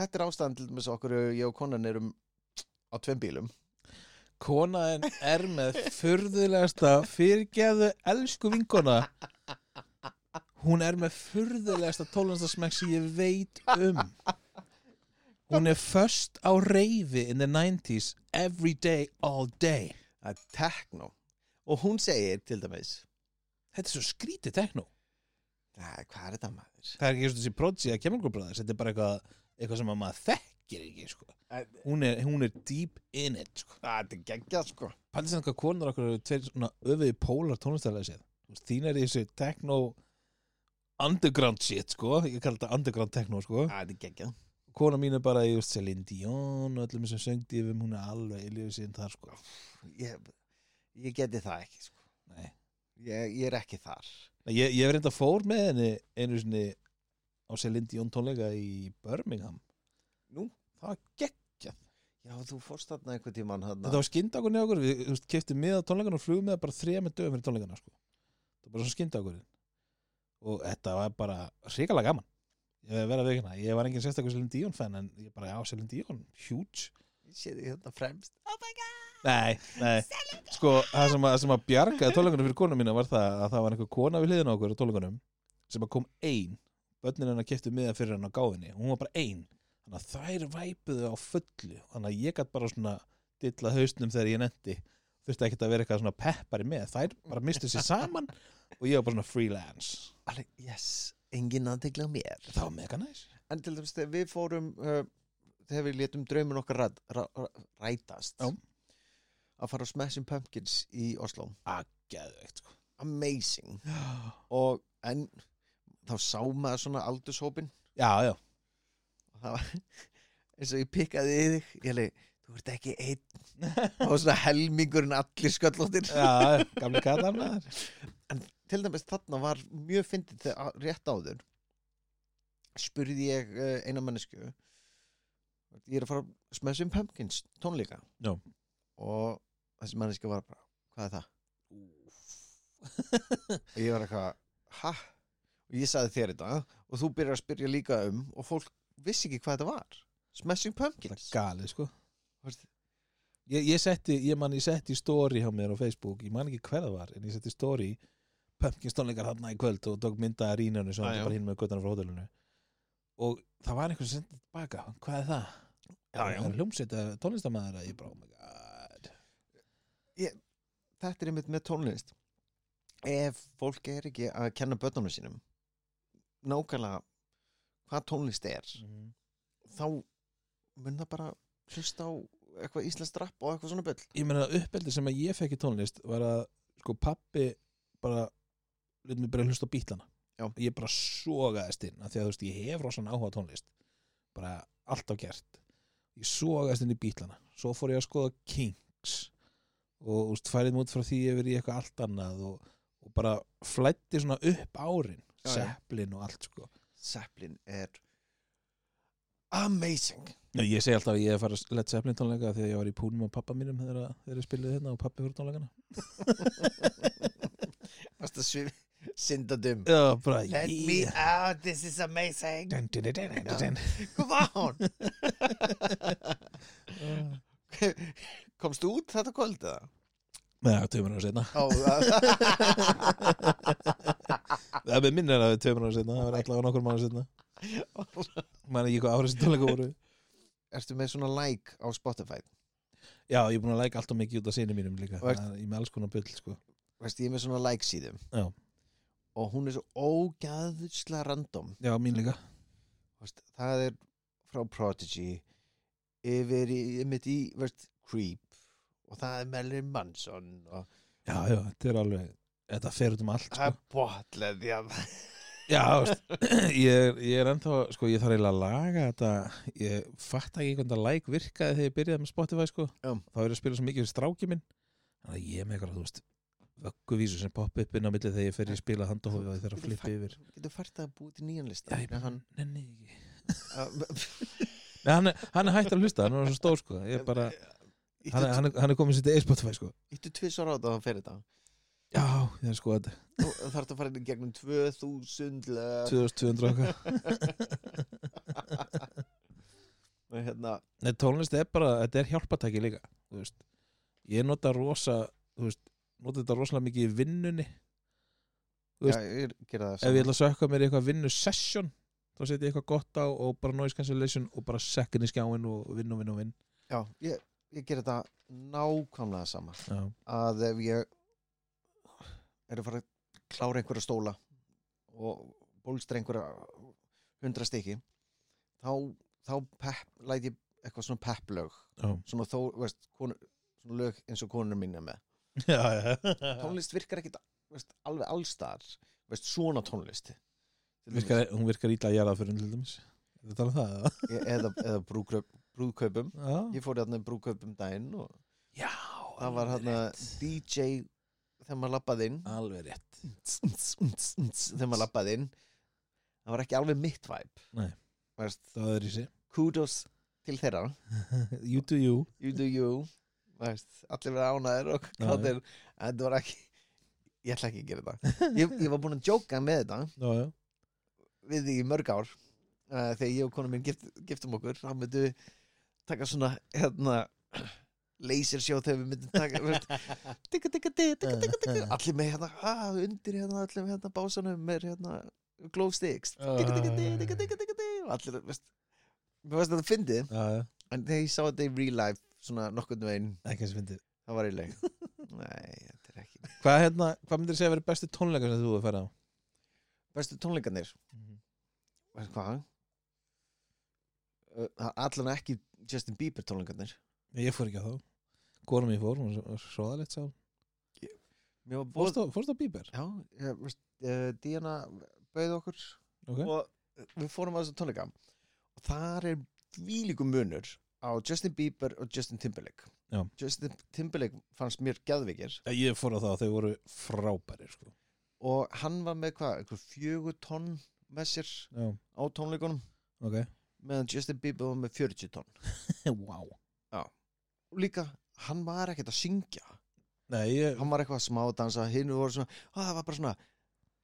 Speaker 2: þetta er ástæðan til dæmis okkur ég og konan erum á tveim bílum
Speaker 1: konaðin er með furðulegasta fyrirgeðu elsku vinkona hún er með furðulegasta tólunstasmekk sem ég veit um hún er först á reyfi in the 90s every day, all day
Speaker 2: það er techno og hún segir til dæmis
Speaker 1: þetta er svo skrítið tekno
Speaker 2: "Æ, hvað er þetta maður
Speaker 1: það er ekki eins og þessi prodigy að kemur bræðis þetta er bara eitthvað, eitthvað sem að maður þekkir ekki sko.
Speaker 2: Æ,
Speaker 1: hún, er, hún er deep in it sko.
Speaker 2: Æ, þetta er geggjað sko
Speaker 1: Paldið sem hvað konur okkur eru tveir svona öfiði pólar tónlistæðlega séð. Þú veist, Þín er í þessu techno underground shit, sko. Ég kalla þetta underground techno, sko.
Speaker 2: Æ, þetta er geggjað
Speaker 1: Kona mín er bara í, þú veist, Celine Dion og öllum þessum söngdífum, hún er alveg í liðu síðan þar, sko.
Speaker 2: ég, ég geti það ekki sko.
Speaker 1: Nei.
Speaker 2: ég, ég er ekki þar
Speaker 1: Ég, ég hef reynda fór með henni einu sinni á Celine Dion tónleika í Birmingham.
Speaker 2: Nú?
Speaker 1: Það var gegn.
Speaker 2: já þú fórst þarna einhver tíman þarna.
Speaker 1: Þetta var skyndakunni okkur, við, þú veist, keftum miða tónleikana og flugum með bara þrjá með dögum fyrir tónleikana, sko. Það var bara svona skyndakunni. Og þetta var bara hrikalega gaman. Ég verða að veikina, ég var engin sérstakur Selin Díón fan, en ég bara, já, Selin Díón, huge.
Speaker 2: ég sé því hérna fremst oh my god
Speaker 1: Nei, nei, sko, það sem að, sem að bjargaði tónleikunum fyrir konu mína var það að það var einhver kona við hliðina á okkur á tónleikunum sem að kom ein, börnin hennar keftu miða fyrir hennar á gáfinni, hún var bara ein þannig að þær væpuðu á fullu þannig að ég gætt bara svona dilla hausnum þegar ég netti, þurfti ekkert að vera eitthvað svona peppari með, þær bara mistu sér saman og ég var bara svona freelance
Speaker 2: Alveg, yes engin aðtegla mér
Speaker 1: það var mega næs
Speaker 2: en til dæmis þegar við fórum uh, þegar við létum draumin okkar ræt, ræ, ræ, rætast
Speaker 1: Já.
Speaker 2: að fara á Smashing Pumpkins í Oslo
Speaker 1: Geðveikt, sko.
Speaker 2: amazing
Speaker 1: já,
Speaker 2: og en þá sá maður svona aldurshópin
Speaker 1: já,
Speaker 2: og það var eins og ég pikkaði í þig ég leik, þú ert ekki einn og svona helmingurinn allir sköllóttir
Speaker 1: Já, gamli kallar maður
Speaker 2: til dæmis þarna var mjög fyndið þegar að- rétt áður spurði ég eh, eina mannesku ég er að fara á Smashing Pumpkins tónleika
Speaker 1: Já.
Speaker 2: og þessi manneska var bara hvað er það? og ég var eitthvað ha? og ég sagði þér þetta og þú byrjar að spyrja líka um og fólk vissi ekki hvað þetta var Smashing Pumpkins
Speaker 1: Galið sko
Speaker 2: Varst-
Speaker 1: ég, ég setti, ég man, ég setti story hjá mér á Facebook, ég man ekki hver það var en ég setti story, pumpkin stónleikar þarna í kvöld og tók mynda að rínunni sem
Speaker 2: Ah,
Speaker 1: var
Speaker 2: já.
Speaker 1: bara hinn með göttana frá hótelinu og það var einhvern sem sendið tilbaka hvað er það?
Speaker 2: Já, já.
Speaker 1: Það er hljómsveit að tónlistamæður að ég bara, oh my god
Speaker 2: þetta er einmitt með tónlist ef fólk er ekki að kenna börnunum sínum nákvæmlega hvað tónlist er þá mun það bara hlusta á eitthvað íslensk rapp og eitthvað svona bull
Speaker 1: ég meina uppeldi sem að ég fekk í tónlist var að sko pappi bara lítið mér bara hlusta á bítlana
Speaker 2: Já.
Speaker 1: ég bara sogaðist inn af því að þú veist ég hef rosan áhuga á tónlist bara alltaf gert ég sogaðist inn í bítlana svo fór ég að skoða Kings og úst, færið mút frá því yfir í eitthvað allt annað og, og bara flætti svona upp árin
Speaker 2: Já, já.
Speaker 1: Zeppelin og allt sko
Speaker 2: Zeppelin er amazing
Speaker 1: Nei, ég segi alltaf að ég er að fara að Led Zeppelin tónleika því að ég var í púnum á pappa mínum þegar þeir spiluði hérna og pappi fyrir tónleikana
Speaker 2: Varstu svif- syndadum
Speaker 1: Já, bara,
Speaker 2: Let me out, this is amazing
Speaker 1: dun, dun, dun, dun, dun, dun.
Speaker 2: Come on Komstu út þetta kvöld eða?
Speaker 1: Nei, það er tveimur ára setna
Speaker 2: Ó, það-
Speaker 1: Það er með minnir að það er tveimur ára setna Það var allavega nokkur mánu setna Man ekki hvað ára sem tónleika voru
Speaker 2: Ertu með svona like á Spotify?
Speaker 1: Já, ég er búin að læka alltaf mikið út af sinni mínum líka
Speaker 2: Og ert-
Speaker 1: Þannig að Ég er með alls konar bull, sko
Speaker 2: Veist, ég er með svona like síðum
Speaker 1: Já.
Speaker 2: Og hún er svo ógæðsla random
Speaker 1: Já, mín líka
Speaker 2: veist, það er frá Prodigy yfir í, yfir í veist, Creep og það er Marilyn Manson og
Speaker 1: Já, já, þetta er alveg Þetta fer út um allt,
Speaker 2: það
Speaker 1: sko
Speaker 2: er botlað já,
Speaker 1: Já, veist, ég, er, ég er ennþá, sko, ég þarf eiginlega að laga þetta Ég fatt ekki einhvern veginn að læk virkaði þegar ég byrjaði með Spotify, sko
Speaker 2: Já.
Speaker 1: Þá er ég að spila svo mikið fyrir stráki minn Þannig að ég er með eitthvað, þú veist vögguvísu sem poppa upp inn á milli þegar ég fer í spila handahófi og ég þarf að flippa yfir
Speaker 2: getur fært að búið til nýjan lista
Speaker 1: Já, ég
Speaker 2: Nei, hann,
Speaker 1: nenni því ekki
Speaker 2: að-
Speaker 1: Nei, hann, er- hann er hægt að hlusta, hann er svo stór sko Ég er bara, hann, er-
Speaker 2: Íttu-
Speaker 1: hann, er- hann er komin sér til Spotify sko
Speaker 2: Íttu tvisvar á þetta og fyrir þetta
Speaker 1: Já, ég er sko þetta
Speaker 2: Þú þarf að fara inn í gegnum 2000
Speaker 1: Eh.
Speaker 2: lög
Speaker 1: 2200 okkar
Speaker 2: og hérna,
Speaker 1: Nei, tónlist er bara, þetta er hjálpatæki líka Þú veist, ég nota rosa Þú veist, nota þetta rosalega mikið í vinnunni Þú
Speaker 2: já,
Speaker 1: veist,
Speaker 2: ég gera það
Speaker 1: Ef ég ætla að sökka mér í eitthvað vinnu session Þá setja ég eitthvað gott á og bara noise cancellation Og bara sekkin í skjáin og vinn og vinn og vinn
Speaker 2: já, ég, ég gera þetta nákvæmlega sama
Speaker 1: Já,
Speaker 2: að ef ég er að fara að klára einhverja stóla og bólstra einhverja hundra stykki þá, þá pep, læt ég eitthvað svona pepplög
Speaker 1: já,
Speaker 2: svona, þó, veist, konu, svona lög eins og konur mín er með
Speaker 1: já, já.
Speaker 2: tónlist virkar ekkit veist, alveg allstar veist, svona tónlist Til dæmis,
Speaker 1: Virkar, Hún virkar ítla að jarða fyrir til dæmis Þetta tala um það, eða?
Speaker 2: e- eða, eða brúkraup, brúkaupum
Speaker 1: já
Speaker 2: ég fór hérna í brúkaupum daginn og
Speaker 1: Já,
Speaker 2: það var
Speaker 1: alveg
Speaker 2: hérna
Speaker 1: rétt.
Speaker 2: DJ þegar maður lappaði inn
Speaker 1: Alveg rétt
Speaker 2: þegar maður lappaði inn það var ekki alveg mitt væp
Speaker 1: Nei. Það er í sig
Speaker 2: kudos til þeirra
Speaker 1: You do you
Speaker 2: you do you Veist, allir vera ánæðir og
Speaker 1: Já,
Speaker 2: káttir en þetta var ekki ég ætla ekki að gera þetta ég, ég var búin að jóka með þetta
Speaker 1: Já, já
Speaker 2: við því í mörg ár uh, þegar ég og konu minn gift, giftum okkur þá myndum við taka svona hérna lasersjó þegar við myndum taka veist, tikka tikka tikka tikka tikka tikka allir með hérna ah, undir hérna allir með hérna básanum með hérna glow sticks tikka tikka tikka tikka tikka tikka tikka og allir veist mér veist að það fyndið
Speaker 1: Já, já
Speaker 2: en þegar ég sá þetta í real life svona nokkurn veginn
Speaker 1: Ekki að sem fyndi
Speaker 2: það var í leik nei þetta er ekki
Speaker 1: Hvað hérna, hvað myndir segja að vera bestu tónleikar sem þú hefur farið á?
Speaker 2: bestu tónleikarnir
Speaker 1: Mhm.
Speaker 2: Veist hvað? Uh, Allan ekki Justin Bieber tónleikarnir
Speaker 1: Ég fór ekki á þá Hvorum ég fór, hún var svoðalegt sá
Speaker 2: Mér var bóð
Speaker 1: Fórst á- Fórst á Bíber?
Speaker 2: Já, eh, veist, uh, Díana bauði okkur
Speaker 1: Ok
Speaker 2: eh, og við fórum að þessu tónleika og þar er þvílíkum munur á Justin Bieber og Justin Timberlake
Speaker 1: Já.
Speaker 2: Justin Timberlake fannst mér geðvikir
Speaker 1: Ég fór á það og þau voru frábærir sko.
Speaker 2: og hann var með hvað, eitthvað fjögur tonn með sér
Speaker 1: Já,
Speaker 2: á tónleikunum
Speaker 1: ok
Speaker 2: meðan Justin Bieber var með 40 tonn
Speaker 1: Wow
Speaker 2: og líka, hann var ekkert að syngja
Speaker 1: Nei, ég,
Speaker 2: hann var eitthvað smá að dansa hinn voru svona, að það var bara svona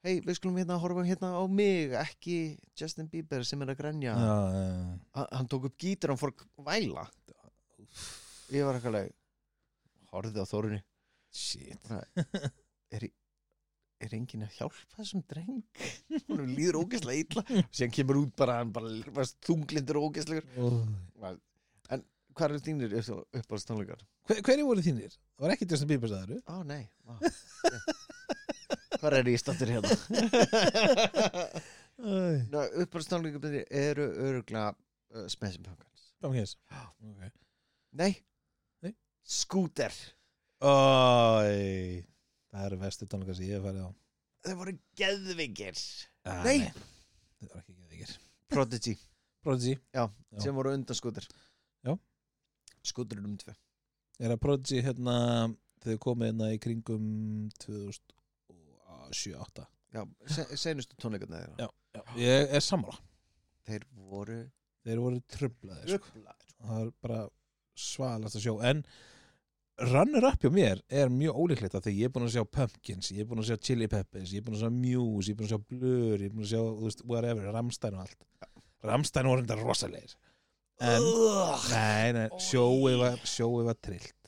Speaker 2: hei, við skulum hérna horfa hérna á mig ekki Justin Bieber sem er að grenja
Speaker 1: já, já,
Speaker 2: hann, hann tók upp gítar, hann fór að væla ég var eitthvað leið horfið á þórunni
Speaker 1: shit
Speaker 2: er enginn að hjálpa þessum dreng hún líður ógeðslega illa síðan kemur út bara, hann bara varst þunglindur og ógeðslegur hvað eru þínir uppáðstónleikar?
Speaker 1: Hver, Hverju voru þínir? Það var ekki Justin Bieber sagður
Speaker 2: á nei, á, hvað er ég standur hérna?
Speaker 1: Bam
Speaker 2: uppáðstónleikar eru örugla uh, Smashing Pumpkins
Speaker 1: Kings
Speaker 2: Já.
Speaker 1: okay.
Speaker 2: nei,
Speaker 1: Nei.
Speaker 2: Scooter
Speaker 1: Æ, Það eru vestu tónleika sem ég hef farið á
Speaker 2: þau voru geðvingir
Speaker 1: ah,
Speaker 2: Nei.
Speaker 1: Það var ekki ekki ekki
Speaker 2: Prodigy
Speaker 1: Prodigy Já.
Speaker 2: sem voru undan Scooter
Speaker 1: Já.
Speaker 2: Scooter er um tvö
Speaker 1: Er að Prodigy hérna Þau komið hérna í kringum 2007-2008
Speaker 2: Já, se- seinustu tónleikarna þeirra
Speaker 1: Já. Ég er sammála
Speaker 2: þeir voru
Speaker 1: Þeir voru tröflaðir sko.
Speaker 2: ruglaðir
Speaker 1: Það er bara svalast að sjó En runner up hjá mér er mjög ólíklegt af því ég er búin að sjá Pumpkins ég er búin að sjá Chili Peppers, ég er búin að sjá Muse ég er búin að sjá Blur, ég er búin að sjá þú veist, whatever, Rammstein og allt Rammstein voru þetta rosalegir En,
Speaker 2: Ugh.
Speaker 1: nei, nei, sjóið var, sjóið var trillt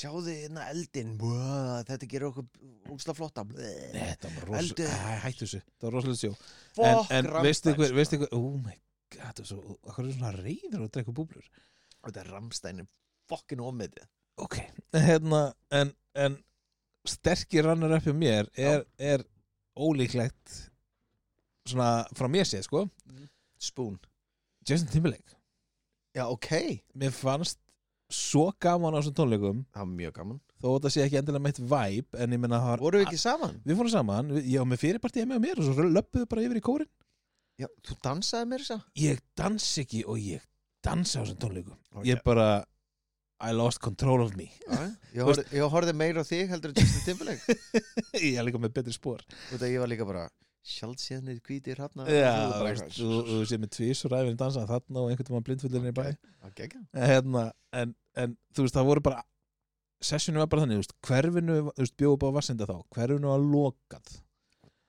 Speaker 2: Sjáðu hérna eldin Bua, Þetta gerir okkur úksla flotta
Speaker 1: Nei, þetta var rosalegir,
Speaker 2: Eldur.
Speaker 1: hættu þessu þetta var rosalegir sjó En,
Speaker 2: Fokk
Speaker 1: en veistu hver, veistu hver, oh my god það er svo, hvað er svona reyður og drekku búblur
Speaker 2: sko. Þetta er Ramstein Fokkin ofmetið
Speaker 1: ok, hérna en, en sterkir rannar upp hjá mér er, er ólíklegt svona frá mér séð sko
Speaker 2: Mhm. Spoon
Speaker 1: Justin Timberlake,
Speaker 2: Já, ok Það
Speaker 1: mér fannst svo gaman á þessum tónleikum
Speaker 2: var mjög gaman
Speaker 1: þó þetta sé ekki endilega meitt væp en ég menna það var,
Speaker 2: Voru við ekki saman?
Speaker 1: við fórum saman, við- ég var með fyrirpartið með mér og svo löppuðu bara yfir í kórin
Speaker 2: Já, þú dansaði mér þess að
Speaker 1: ég dans ekki og ég dansa á þessum tónleikum
Speaker 2: Ok.
Speaker 1: ég bara I lost control of me
Speaker 2: Já, Ég
Speaker 1: Þú
Speaker 2: horfði, ég horfði meira á þig heldur en Justin Timberlake
Speaker 1: ég er líka með betri spór
Speaker 2: Þetta ég var líka bara Sjálfsíðanir hvítir hérna." hrafna
Speaker 1: Já, þú veist, þú, þú sé með tvís og ræfinn dansa þarna og einhvern tímann blindfullinni í bæ
Speaker 2: Gegja
Speaker 1: En hérna, en, en þú veist, það voru bara sessjónu var bara þannig, þú veist, hverfinu þú veist, bjóðu bara vassinda þá, hverfinu var lokað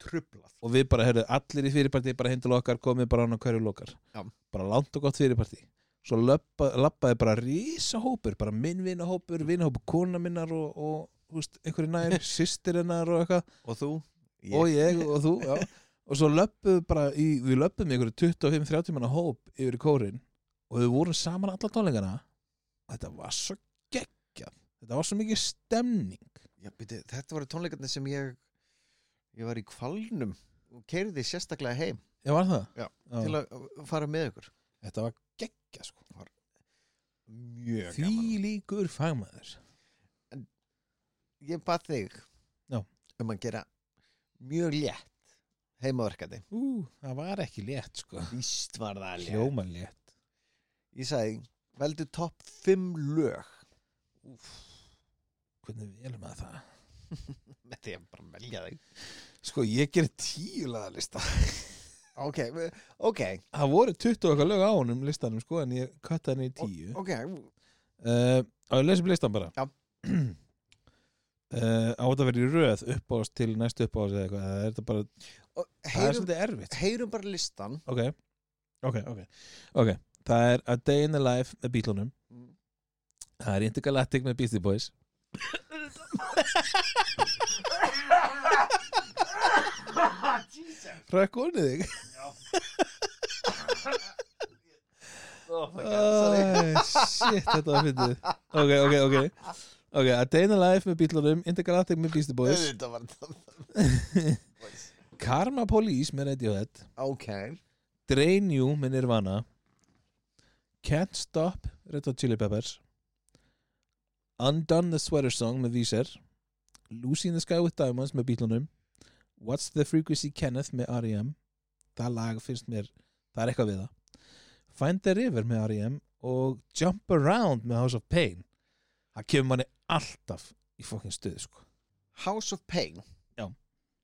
Speaker 2: Trublað
Speaker 1: og við bara, heyrðu, allir í fyrirparti bara heim til okkar, komið bara án á hverju lokar
Speaker 2: Já.
Speaker 1: bara langt og gott fyrirparti svo labba, labbaði bara rísa hópur bara minn vinahópur, vinahópur kona minnar og, og þú veist, einhverju nær systir hennar og eitthvað
Speaker 2: Og þú? Ég.
Speaker 1: og ég og þú já. og svo löppuðu bara í, við löppum í einhverju 25-30 manna hóp yfir í kórin og við vorum saman alla tónleikana og þetta var svo geggjað þetta var svo mikið stemning
Speaker 2: Já, byrju, þetta voru tónleikarnir sem ég ég var í kvalnum og keiriði sérstaklega heim
Speaker 1: ég var það
Speaker 2: Já, til að uh, fara með ykkur
Speaker 1: þetta var geggjað sko
Speaker 2: Mjög
Speaker 1: því líkur fagmaður
Speaker 2: Ég bað þig
Speaker 1: Já.
Speaker 2: um að gera mjög létt heimaverkandi
Speaker 1: Ú, það var ekki létt sko
Speaker 2: Víst var það létt
Speaker 1: hljóma létt
Speaker 2: Ég sagði, veldu topp 5 lög
Speaker 1: Úf. hvernig við erum að það
Speaker 2: Þetta ég bara að velja þig
Speaker 1: sko ég gerir tíu lagalista
Speaker 2: Ok, við- ok,
Speaker 1: það voru 20 og eitthvað lög á honum listanum sko en ég katta hann í tíu
Speaker 2: ok
Speaker 1: Uh, á ég lesi upp listan bara
Speaker 2: Já.
Speaker 1: Uh, á þetta verið röð uppáðs til næstu uppáðs eða eitthvað það er, þetta bara,
Speaker 2: Og
Speaker 1: það er
Speaker 2: heyrum,
Speaker 1: svolítið erfitt
Speaker 2: heyrum bara listan
Speaker 1: ok, ok, ok, okay. það er A Day in the Life með Beatlunum
Speaker 2: Mm.
Speaker 1: það er Intergalactic með Beastie Boys Rökkunni þig
Speaker 2: oh my
Speaker 1: Æ, Shit, þetta var fyndið Ok, ok, ok Ok, A Day in the Life með Beatlunum Intergalactic með Beastie Boys
Speaker 2: Þetta var það
Speaker 1: Karma Police með Radiohead
Speaker 2: Ok
Speaker 1: Drain You með Nirvana Can't Stop Red Hot Chili Peppers Undone the Sweater Song með Víser Lucy in the Sky with Diamonds með Beatlunum What's the Frequency Kenneth með E R.E.M. Það lag finnst mér það er eitthvað við það Find the River með R.E.M. og Jump Around með House of Pain það kemur manni alltaf í fokkin stuð sko.
Speaker 2: House of Pain
Speaker 1: Já.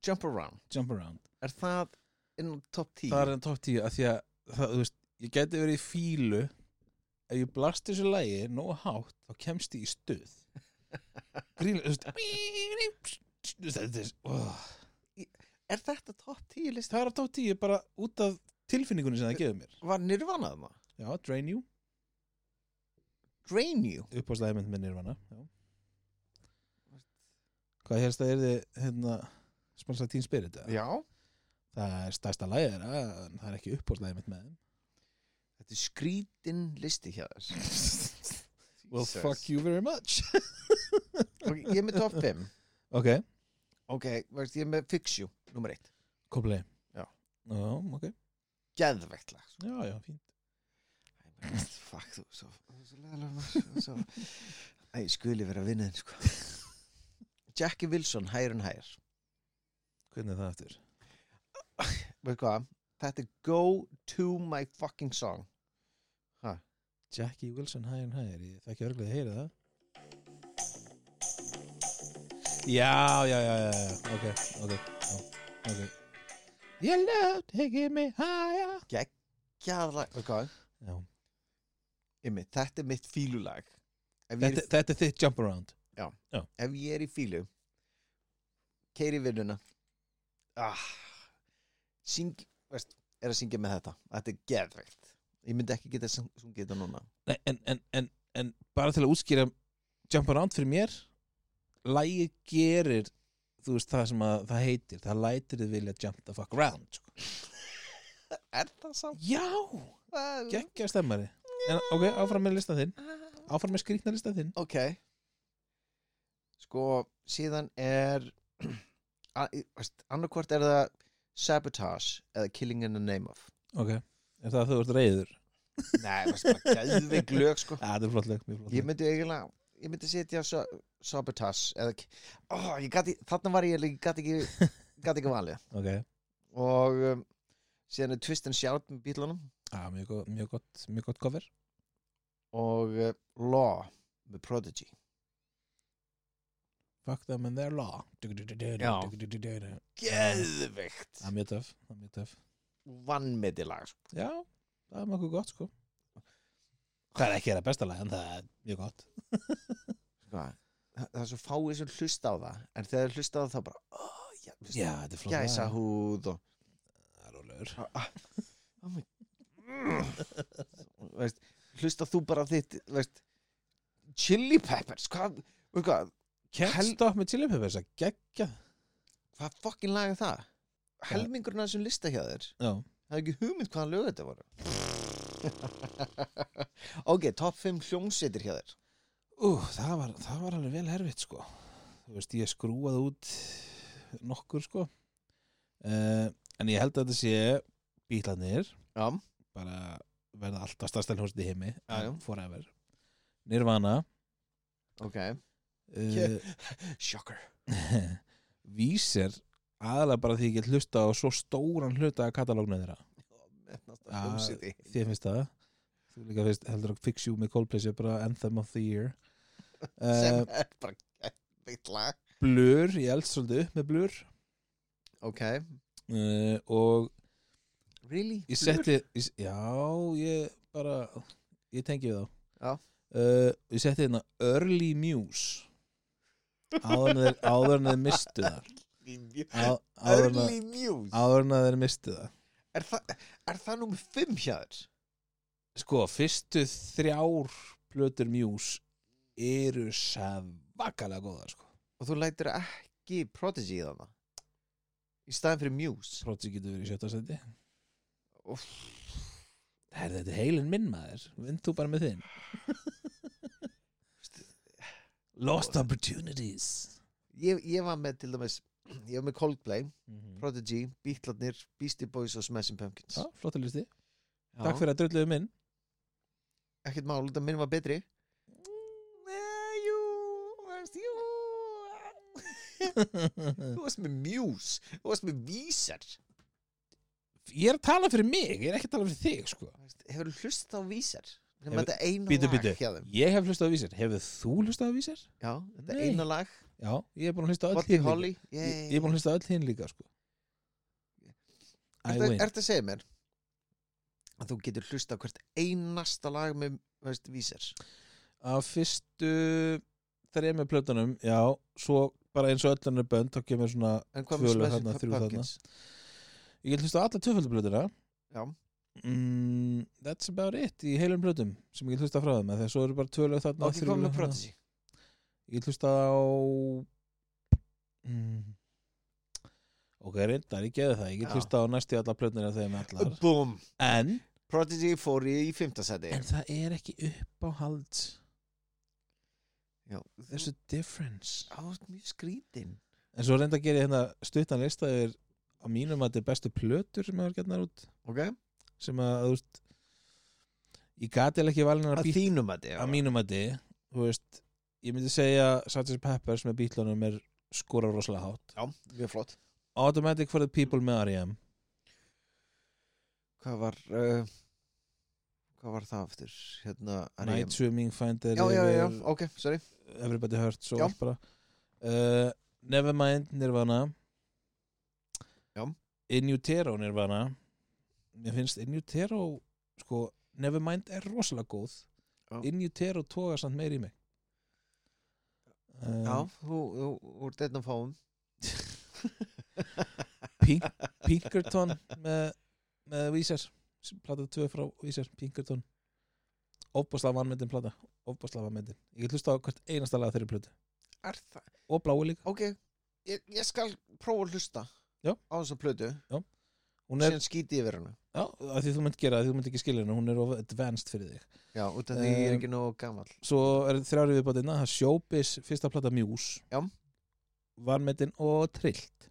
Speaker 2: Jump Around
Speaker 1: Jump Around,
Speaker 2: er það inn á top 10
Speaker 1: það er enn top 10 að því að það, þú veist, ég geti verið í fílu ef ég blast þessu lægi nógu hátt, þá kemst ég í stuð grín, þú veist þú veist, þetta er oh.
Speaker 2: er þetta top 10 list
Speaker 1: það er að top 10 bara út af tilfinningunni sem það gefur mér
Speaker 2: var nirvanað maður
Speaker 1: já, Drain You,
Speaker 2: Drain You
Speaker 1: uppáðslega mynd með Nirvana já. hvað helst að er þið hérna, sponsa Teen Spirit eða?
Speaker 2: já
Speaker 1: það er stærsta lagið þeirra en það er ekki uppbóðslæðið mitt með þeim
Speaker 2: þetta er skrítin listi hjá þess
Speaker 1: well fuck you very much
Speaker 2: okay, ég er með top 5
Speaker 1: ok,
Speaker 2: ok, veist, ég er með Fix You nummer 1
Speaker 1: komplei
Speaker 2: Já.
Speaker 1: já, ok,
Speaker 2: geðveikt lag sko.
Speaker 1: já, já, fínt
Speaker 2: Æ, maður, fuck þú svo, svo leðalega maður svo. Æ, ég skuli vera að vinna þinn sko. Jackie Wilson, higher and higher
Speaker 1: hvernig er það eftir?
Speaker 2: veit hvað, þetta er go to my fucking song
Speaker 1: Jackie Wilson higher and higher, ég þekki örglega að heyra það já, já, já, já, já. ok, ok, já, ok Your love taking me higher
Speaker 2: Gjaðlag, veit hvað,
Speaker 1: já.
Speaker 2: ymmið, þetta er mitt fílulag ef ég,
Speaker 1: Þetta,
Speaker 2: er,
Speaker 1: þetta er þitt jump around
Speaker 2: ef ég er í fílu keiri vinnuna ah, syng veist, er að syngja með þetta þetta er geðveikt ég myndi ekki geta sung- sungið þetta núna
Speaker 1: Nei, en, en, en, en bara til að útskýra Jump Around fyrir mér Lægið gerir þú veist það sem að, það heitir það lætir þið vilja jump the fuck around sko.
Speaker 2: er það samt?
Speaker 1: Já, geggja stemmari en, Ok, áfram með listan þinn Áfram með skrýtna listan þinn
Speaker 2: ok sko, síðan er a- í- veist, annarkvort er það Sabotage eða Killing in the Name of
Speaker 1: Ok, er það að þú ert reyður?
Speaker 2: nei, veist, bara geðveik lög sko
Speaker 1: Já, það er flottleg, mjög
Speaker 2: ég
Speaker 1: flottleg
Speaker 2: myndi eiginlega ég myndi setja sa- Sabotage eða, ki- ó, ég gati, þarna var ég ég gati ekki, gati ekki valið
Speaker 1: Ok,
Speaker 2: og um, síðan er Twist and Shout með bílunum
Speaker 1: já, mjög, gott- mjög gott mjög gott cover
Speaker 2: og uh, Law með Prodigy
Speaker 1: Fuck them and their law
Speaker 2: Já.
Speaker 1: Það
Speaker 2: geðveikt
Speaker 1: er mjög töf, það er mjög töf
Speaker 2: vannmetilag sko.
Speaker 1: Já, það er mjög gott sko Það er ekki það besta lag en það er mjög gott
Speaker 2: Sko, það það er svo fáið sem hlusta á það en þegar þeir hlusta á það þá bara ó, já, veist,
Speaker 1: Já, þetta er flott
Speaker 2: gæsa húð og
Speaker 1: Það er ólegur
Speaker 2: oh my, mm. veist, hlusta þú bara á þitt veist, chili peppers hvað, veist hvað,
Speaker 1: Can't
Speaker 2: Hel-
Speaker 1: stop með chili peppers að geggja
Speaker 2: hvað fucking lag er það helmingurinn af þessum lista hjá þér
Speaker 1: Já,
Speaker 2: það er ekki hugmynd hvaða lög þetta voru ok, top 5 hljómsveitir hjá þér
Speaker 1: Ú, það, var, það var alveg vel herfitt sko Þú veist, ég skrúaði út nokkur sko uh, En ég held að þetta sé bílarnir
Speaker 2: já,
Speaker 1: bara verða alltaf stærsta hljómsveit í heimi
Speaker 2: Já, já.
Speaker 1: forever Nirvana
Speaker 2: ok
Speaker 1: uh,
Speaker 2: shocker
Speaker 1: Vísir aðalega bara því ég get hlusta á svo stóran hluta að katalógnu þeirra Ah,
Speaker 2: hljómsveiti
Speaker 1: þér finnst það þú líka finnst heldur að Fix You með Coldplay sé bara Anthem of the Year uh,
Speaker 2: sem er bara eitt lag
Speaker 1: Blur, ég elst svolítið upp með Blur
Speaker 2: ok,
Speaker 1: uh, og
Speaker 2: really?
Speaker 1: ég setti ég, já, ég bara ég tengi við þá
Speaker 2: Já.
Speaker 1: uh, ég setti hérna Early Muse áður en þeir- áður en þeir mistu það Á- áður en að-
Speaker 2: early news
Speaker 1: áður en þeir mistu það
Speaker 2: er, þa er það nummer 5 hjá þér?
Speaker 1: sko, fyrstu þrjár plötur Muse eru svakalega góðar sko
Speaker 2: og þú lætur ekki Prodigy í þarna í staðin fyrir Muse
Speaker 1: Prodigy getur verið í sjötta seti
Speaker 2: Úff.
Speaker 1: Herði, þetta er heilin minn maður Vind þú bara með þinn Lost opportunities
Speaker 2: ég, ég var með til dæmis ég var með Coldplay,
Speaker 1: Já,
Speaker 2: Prodigy, Beatlarnir Beastie Boys og Smashing Pumpkins
Speaker 1: flottur listi
Speaker 2: Já.
Speaker 1: Takk fyrir að um drulluðu minn
Speaker 2: ekkert mál, þetta minn var betri
Speaker 1: Mm, eh,
Speaker 2: Nei, jú, veist, jú þú varst með Muse þú varst með Vísar
Speaker 1: Ég er að tala fyrir mig, ég er ekki að tala fyrir þig sko.
Speaker 2: hefur hlust á Vísar sem
Speaker 1: Hefur-
Speaker 2: þetta eina
Speaker 1: Bíddu,
Speaker 2: lag
Speaker 1: bíddu.
Speaker 2: hjá þeim
Speaker 1: Ég hef hlustað á vísir, hefur þú hlustað á vísir?
Speaker 2: já, þetta
Speaker 1: Nei.
Speaker 2: eina lag,
Speaker 1: Já, ég er búin að hlusta á öll
Speaker 2: Body
Speaker 1: hinn líka
Speaker 2: Holly
Speaker 1: Ég ég er búin að hlusta á öll hinn líka sko. I
Speaker 2: Ertu
Speaker 1: win
Speaker 2: er að segja mér að þú getur hlusta á hvert einasta lag með veist, vísir
Speaker 1: Af fyrstu þremi plötunum, já svo bara eins og öll öllunni bönd þá kemur svona,
Speaker 2: en hvað
Speaker 1: Tvölu
Speaker 2: með Smashing
Speaker 1: þarna, þrjú
Speaker 2: Pumpkins
Speaker 1: ég get hlusta á alla tvöföldublötuna
Speaker 2: já,
Speaker 1: mm, That's about it í heilum plötum sem ég get hlusta frá þeim af því að svo eru bara tvölu þarna
Speaker 2: ok,
Speaker 1: þrjú
Speaker 2: hvað
Speaker 1: lög
Speaker 2: með
Speaker 1: þarna.
Speaker 2: Prodigy
Speaker 1: Ég get hlusta á mm, Ok, reyndar, ég geði það Ég get
Speaker 2: Já.
Speaker 1: hlusta á næstu alla plötunir af þeim allar
Speaker 2: Uh, Búm,
Speaker 1: En
Speaker 2: Prodigy fór í, í fymtasæti
Speaker 1: Um, En það er ekki upp á hald
Speaker 2: Já,
Speaker 1: Þessu difference
Speaker 2: ást mjög skrítin
Speaker 1: En svo reynda að gera hérna stuttan lista er á mínum að þetta er bestu plötur sem hefur getnar út
Speaker 2: ok,
Speaker 1: sem að, þú veist ég gati alveg ekki valin að
Speaker 2: að
Speaker 1: býta
Speaker 2: þínum að
Speaker 1: á mínum að þið, þú veist ég myndi segja Sgt. Peppers með bítlunum er skora rosalega hátt
Speaker 2: já, mjög flott
Speaker 1: Automatic for the People með E R.E.M.
Speaker 2: hvað var uh, hvað var það aftur hérna R.E.M..
Speaker 1: Night Swimming Finder
Speaker 2: já, já, já,
Speaker 1: yfir
Speaker 2: ok, sorry
Speaker 1: Everybody Hurts og
Speaker 2: Já.
Speaker 1: allt bara uh, Nevermind Nirvana
Speaker 2: Já.
Speaker 1: In Utero Nirvana Mér finnst In Utero sko, Nevermind er rosalega góð
Speaker 2: Já.
Speaker 1: In Utero toga samt meir í mig
Speaker 2: já,
Speaker 1: um,
Speaker 2: þú, þú, þú ert einn af fáum
Speaker 1: Pink, Pinkerton með, með Vísar plata 2 frá Vísar, Pinkerton ofbáslega vannmyndin plata ofbáslega vannmyndin, ég get hlusta á hvert einasta lag þeirri plötu
Speaker 2: er það
Speaker 1: og bláu líka,
Speaker 2: ok, ég, ég skal prófa að hlusta
Speaker 1: Já.
Speaker 2: á þessa plötu
Speaker 1: hún er
Speaker 2: síðan skíti yfir hennu
Speaker 1: Já, að því þú mynd gera, að því þú mynd ekki skilja henni, hún er of advanced fyrir þig.
Speaker 2: já, út af því ég er
Speaker 1: Ehm,
Speaker 2: ekki nógu gamall
Speaker 1: Svo er þrjári viðbótina, það er Showbiz, fyrsta plata Muse,
Speaker 2: Já.
Speaker 1: Vanmetin og Trillt.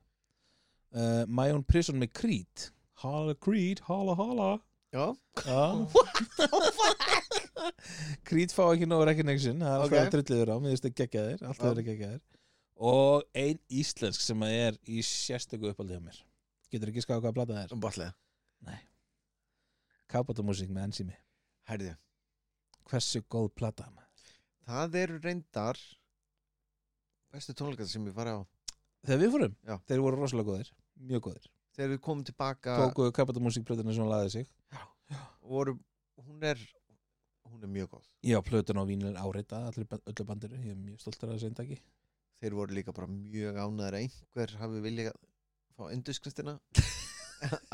Speaker 1: Uh, My Own Prison með Creed, Hala Creed, Hala Hala.
Speaker 2: já,
Speaker 1: Já. Creed fá ekki nóg recognition, það er alltaf
Speaker 2: Ok.
Speaker 1: okay. trilliður á, mér finnst það geggjaðir, alltaf
Speaker 2: Já.
Speaker 1: verið geggjaðir. Og ein íslensk sem að er í sérstöku uppaldið á mér. Getur ekki skáða hvaða plata það er.
Speaker 2: um ballega
Speaker 1: Kabatamúsík með Enzimi.
Speaker 2: herðu,
Speaker 1: Hversu góð plata maður.
Speaker 2: það eru reyndar bestu tónleikar sem ég fari á
Speaker 1: Þegar við fórum,
Speaker 2: Já. Ah.
Speaker 1: þeir voru rosalega góðir Mjög góðir,
Speaker 2: þegar við komum tilbaka
Speaker 1: tókuðu kapatamúsíkplötuna sem hún laðið sig
Speaker 2: vorum, hún er hún er mjög góð
Speaker 1: Já, plötuna á vínilin áreita allir, ban- öllu bandinu, ég er mjög stoltur að þessu eindaki
Speaker 2: þeir voru líka bara mjög ánæður einhver hafi viljað fá endurskriftina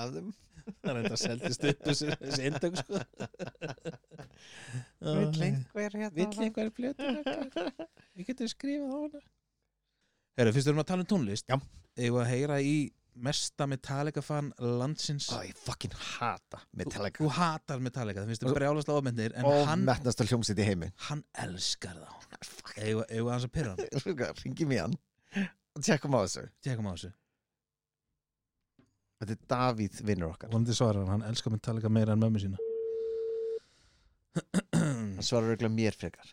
Speaker 2: af þeim
Speaker 1: Það er enda seldist upp þessu þessi eindaki sko
Speaker 2: vill einhver
Speaker 1: Vill
Speaker 2: hérna
Speaker 1: einhver plötuna Kakk? Við getum skrifað á hana Herra, fyrst erum að tala um tónlist
Speaker 2: Já.
Speaker 1: Eigum við að heyra í mesta Metallica-fan landsins
Speaker 2: Æ, ég fucking hata Metallica
Speaker 1: Þú hatar Metallica, það finnst
Speaker 2: Og-
Speaker 1: þér brjálaslega ofmyndir En
Speaker 2: og
Speaker 1: hann, Ah,
Speaker 2: metnasta hljómsitt í heimi
Speaker 1: hann elskar þá Eigum eigum við hans að pyrra hann
Speaker 2: ringjum í hann og tjekkum á þessu
Speaker 1: Tekum á þessu
Speaker 2: þetta er Davíð vinnur okkar
Speaker 1: Vondi svarar hann, hann elskar Metallica meira en mömmu sína
Speaker 2: hann svarar auðvitað mér frekar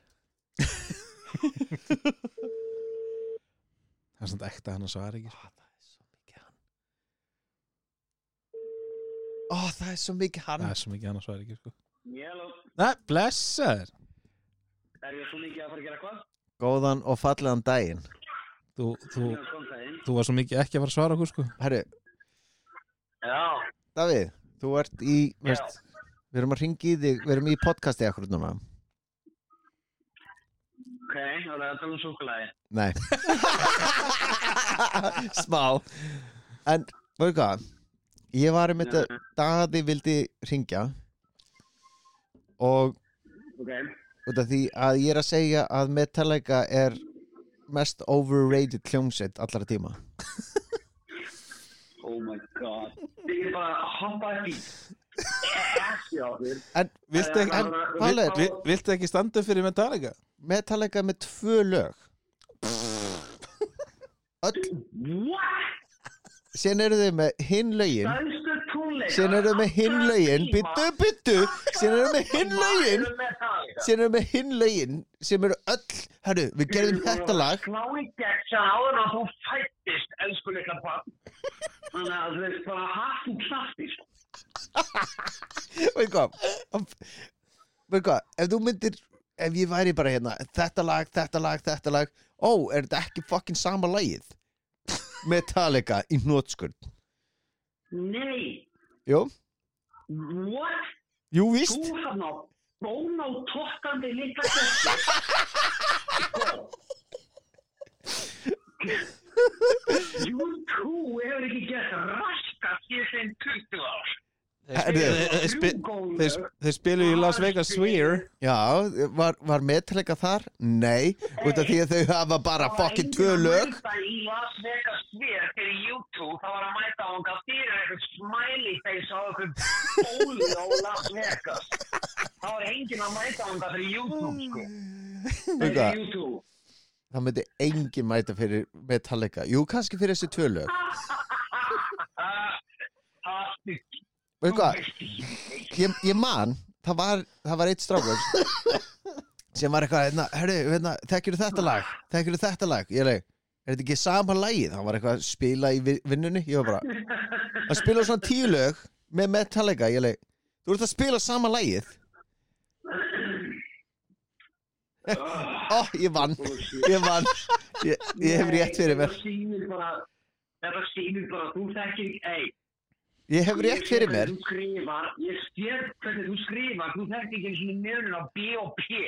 Speaker 1: Það er svona ekta hann að svara ekki
Speaker 2: það er svo mikið sko. hann ó það er svo mikið hann
Speaker 1: Það er svo mikið hann að svara ekki sko.
Speaker 3: Mjöló,
Speaker 1: Nei, blessa þér
Speaker 3: er ég svo mikið að fara að gera hvað?
Speaker 2: góðan og fallegan daginn
Speaker 1: þú, þú,
Speaker 3: Mjög kom það inn.
Speaker 1: þú var svo mikið ekki að fara að svara okkur sko.
Speaker 2: herru
Speaker 3: Já,
Speaker 2: Davíð, þú ert í veist, við erum að ringi í þig, við erum í podcasti akkur núna
Speaker 3: ok, og það er að tala um súkulæði.
Speaker 2: Nei Smá En, veiðu hvað Ég var um þetta, Daði vildi ringja og
Speaker 3: Ok,
Speaker 2: út af því að ég er að segja að Metallica er mest overrated hljómsveit allra tíma
Speaker 3: oh my god. Þið getur bara að hoppa upp í assi á þér.
Speaker 2: En
Speaker 1: viltu, ekki,
Speaker 2: en,
Speaker 1: en,
Speaker 2: Palli,
Speaker 1: vil, viltu ekki standa upp fyrir Metallica?
Speaker 2: Metallica er með tvö lög Öll,
Speaker 3: What?
Speaker 2: síðan eru þau með hinn lögin
Speaker 3: Stæðstu tónleika?
Speaker 2: síðan eru þau með hinn lögin byttu, byttu, síðan eru þau með hinn lögin síðan eru með hinn lögin sem eru öll, herru, við gerðum þetta lag
Speaker 3: Slá í gegn sem áður að þú fættist, elskuleika barn. Þannig að þú veist bara hattum klassist.
Speaker 2: og hvað veit hvað, ef þú myndir ef ég væri bara hérna, þetta lag, þetta lag, þetta lag ó, er þetta ekki fucking sama lagið Metallica í nótskurn
Speaker 3: Nei,
Speaker 2: Jú,
Speaker 3: what?
Speaker 2: jú víst
Speaker 3: Þú hann á bóna og tokkandi líka þessi. YouTube hefur ekki gett raskast í þeim 20 ár.
Speaker 1: Þeir spi- þeir
Speaker 3: Rjúgólfur.
Speaker 1: sp- þeir spilu í
Speaker 3: Ah,
Speaker 1: Las Vegas Sphere
Speaker 2: Já, var, var Metallica þar? Nei, út af því að þau hafa bara fucking tvö lög
Speaker 3: Það var enginn að mæta í Las Vegas Sphere fyrir YouTube, það var að mæta á honga fyrir eitthvað smiley face á eitthvað bólu á Las Vegas. Það var enginn að mæta á honga fyrir YouTube, sko.
Speaker 2: Veit
Speaker 3: Fyrir
Speaker 2: hvað,
Speaker 3: YouTube.
Speaker 2: Það myndi engin mæta fyrir Metallica Jú, kannski fyrir þessi tvö lög
Speaker 3: Ah, Það er
Speaker 2: Veit hvað, ég, ég man það var, það var eitt strákur sem var eitthvað hérna, herri, hérna, þekkir þetta lag þekkir þetta lag, ég leik er þetta ekki sama lagið, hann var eitthvað að spila í vi- vinnunni, ég var bara hann spila svona tíu lög með Metallica ég leik, þú ert að spila sama lagið ó, ég vann ég vann, ég, ég hef rétt fyrir mér
Speaker 3: Þetta sýnir bara, þetta sýnir bara, þú þekkir, ei.
Speaker 2: ég hef rétt fyrir mér
Speaker 3: Þú skrifar, ég sé hvernig þú skrifar, þú þekkir ekki eins og mjörnum á B og P.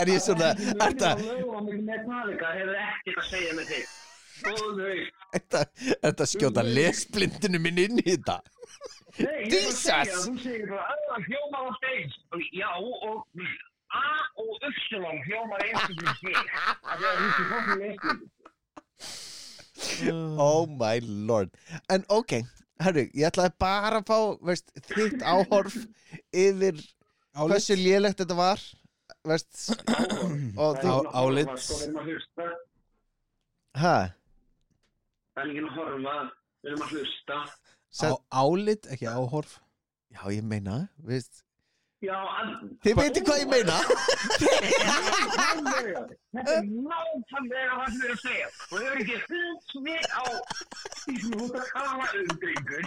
Speaker 2: er ég svona, er
Speaker 3: þetta?
Speaker 2: þetta
Speaker 3: Metallica hefur ekkert að segja með þig. Góðu þau.
Speaker 2: er þetta- er þetta að skjóta lesblindinu minn inn í þetta
Speaker 3: Nei, ég er að segja,
Speaker 2: Jesus!
Speaker 3: þú segir bara, öðan hljómar á steins. Já, og A og Upsilon hljómar eins og þú sé. Það er ekki fólk með eitthvað.
Speaker 2: Oh my lord En ok, herru, ég ætlaði bara að fá veist, þitt áhorf yfir
Speaker 1: Álit
Speaker 2: hversu lélegt þetta var veist, og þú
Speaker 1: Á- álit.
Speaker 3: Sko, við erum að hlusta.
Speaker 2: ha,
Speaker 3: Það er enginn að horfa, við erum að hlusta.
Speaker 2: send,
Speaker 1: Álit, ekki áhorf
Speaker 2: Já, ég meina veist,
Speaker 3: Já, en...
Speaker 2: Þið veitir hvað ég meina
Speaker 3: Nákvæmlega. Þetta er nákvæmlega það sem ég er að segja. Þú hefur ekki hundsvið á því sem þú ert að kala um, drengur.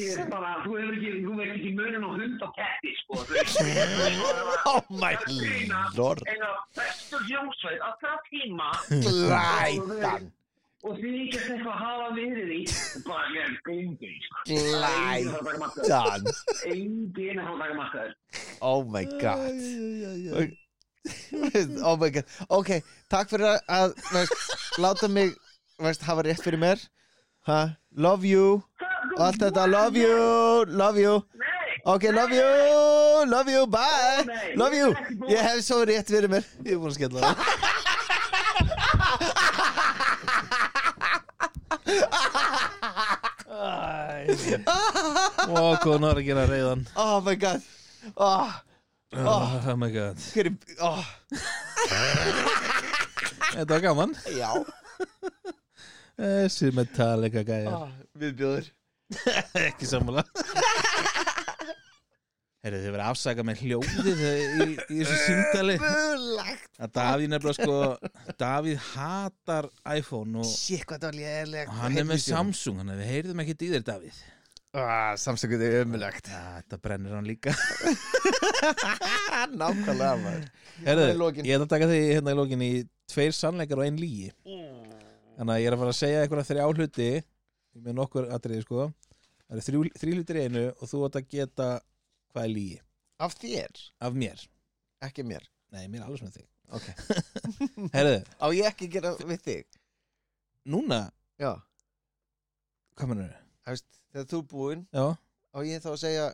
Speaker 3: Ég er bara, þú hefur ekki, þú veist ekki munin á hund og ketti, sko. Þú veist, þú veist,
Speaker 2: Oh my lord
Speaker 3: en að bestu hljómsveit að það tíma
Speaker 2: Glætan
Speaker 3: og því ekki að eitthvað hafa verið í, bara ég er gengið, sko. Glætan.
Speaker 2: Glætan
Speaker 3: Engin er hálfdagarmarkaður.
Speaker 2: Oh my god
Speaker 1: God
Speaker 2: Og- oh my god ok, takk fyrir að- að veist, láta mig veist, hafa rétt fyrir mér ha? love you og allt þetta, love you, love you
Speaker 3: Nei,
Speaker 2: ok, love you, love you, bye love you, ég hef svo rétt fyrir mér
Speaker 1: Ég er búin að skella það Ó, hvað hún var að gera reyðan
Speaker 2: oh my god oh,
Speaker 1: Oh my god
Speaker 2: hver, oh,
Speaker 1: Þetta var gaman
Speaker 2: já,
Speaker 1: Þessi Metallica gæjar
Speaker 2: oh, viðbjóður
Speaker 1: Ekki sammála Herru, þið verið að afsaka með hljóði í, í þessu síndali
Speaker 2: Bulagt.
Speaker 1: að Davíð nefnilega sko Davíð hatar iPhone og
Speaker 2: shit, hvað það var léleg
Speaker 1: og hann er með Samsung þannig að við heyrðum ekkert í þér Davíð
Speaker 2: ah, samsökuð er ömulegt
Speaker 1: Ja, Þetta brennir hann líka
Speaker 2: nákvæmlega maður Það er
Speaker 1: Herru,
Speaker 2: lokin.
Speaker 1: ég ætla að taka þig hérna í lokin í tveir sannleikar og einn lígi Þannig að ég er að fara að segja einhverja þrjá hluti með nokkur atriði sko Það eru þrjú, þrjú hlutir í einu og þú átt að geta hvað er lígi
Speaker 2: af þér,
Speaker 1: af mér
Speaker 2: ekki mér
Speaker 1: Nei, mér er alveg svona þig
Speaker 2: ok,
Speaker 1: Herru,
Speaker 2: á ég ekki að gera við þig
Speaker 1: núna,
Speaker 2: já,
Speaker 1: hvað mennur þau?
Speaker 2: þú veist, þegar þú er búinn
Speaker 1: Já,
Speaker 2: á ég þá að segja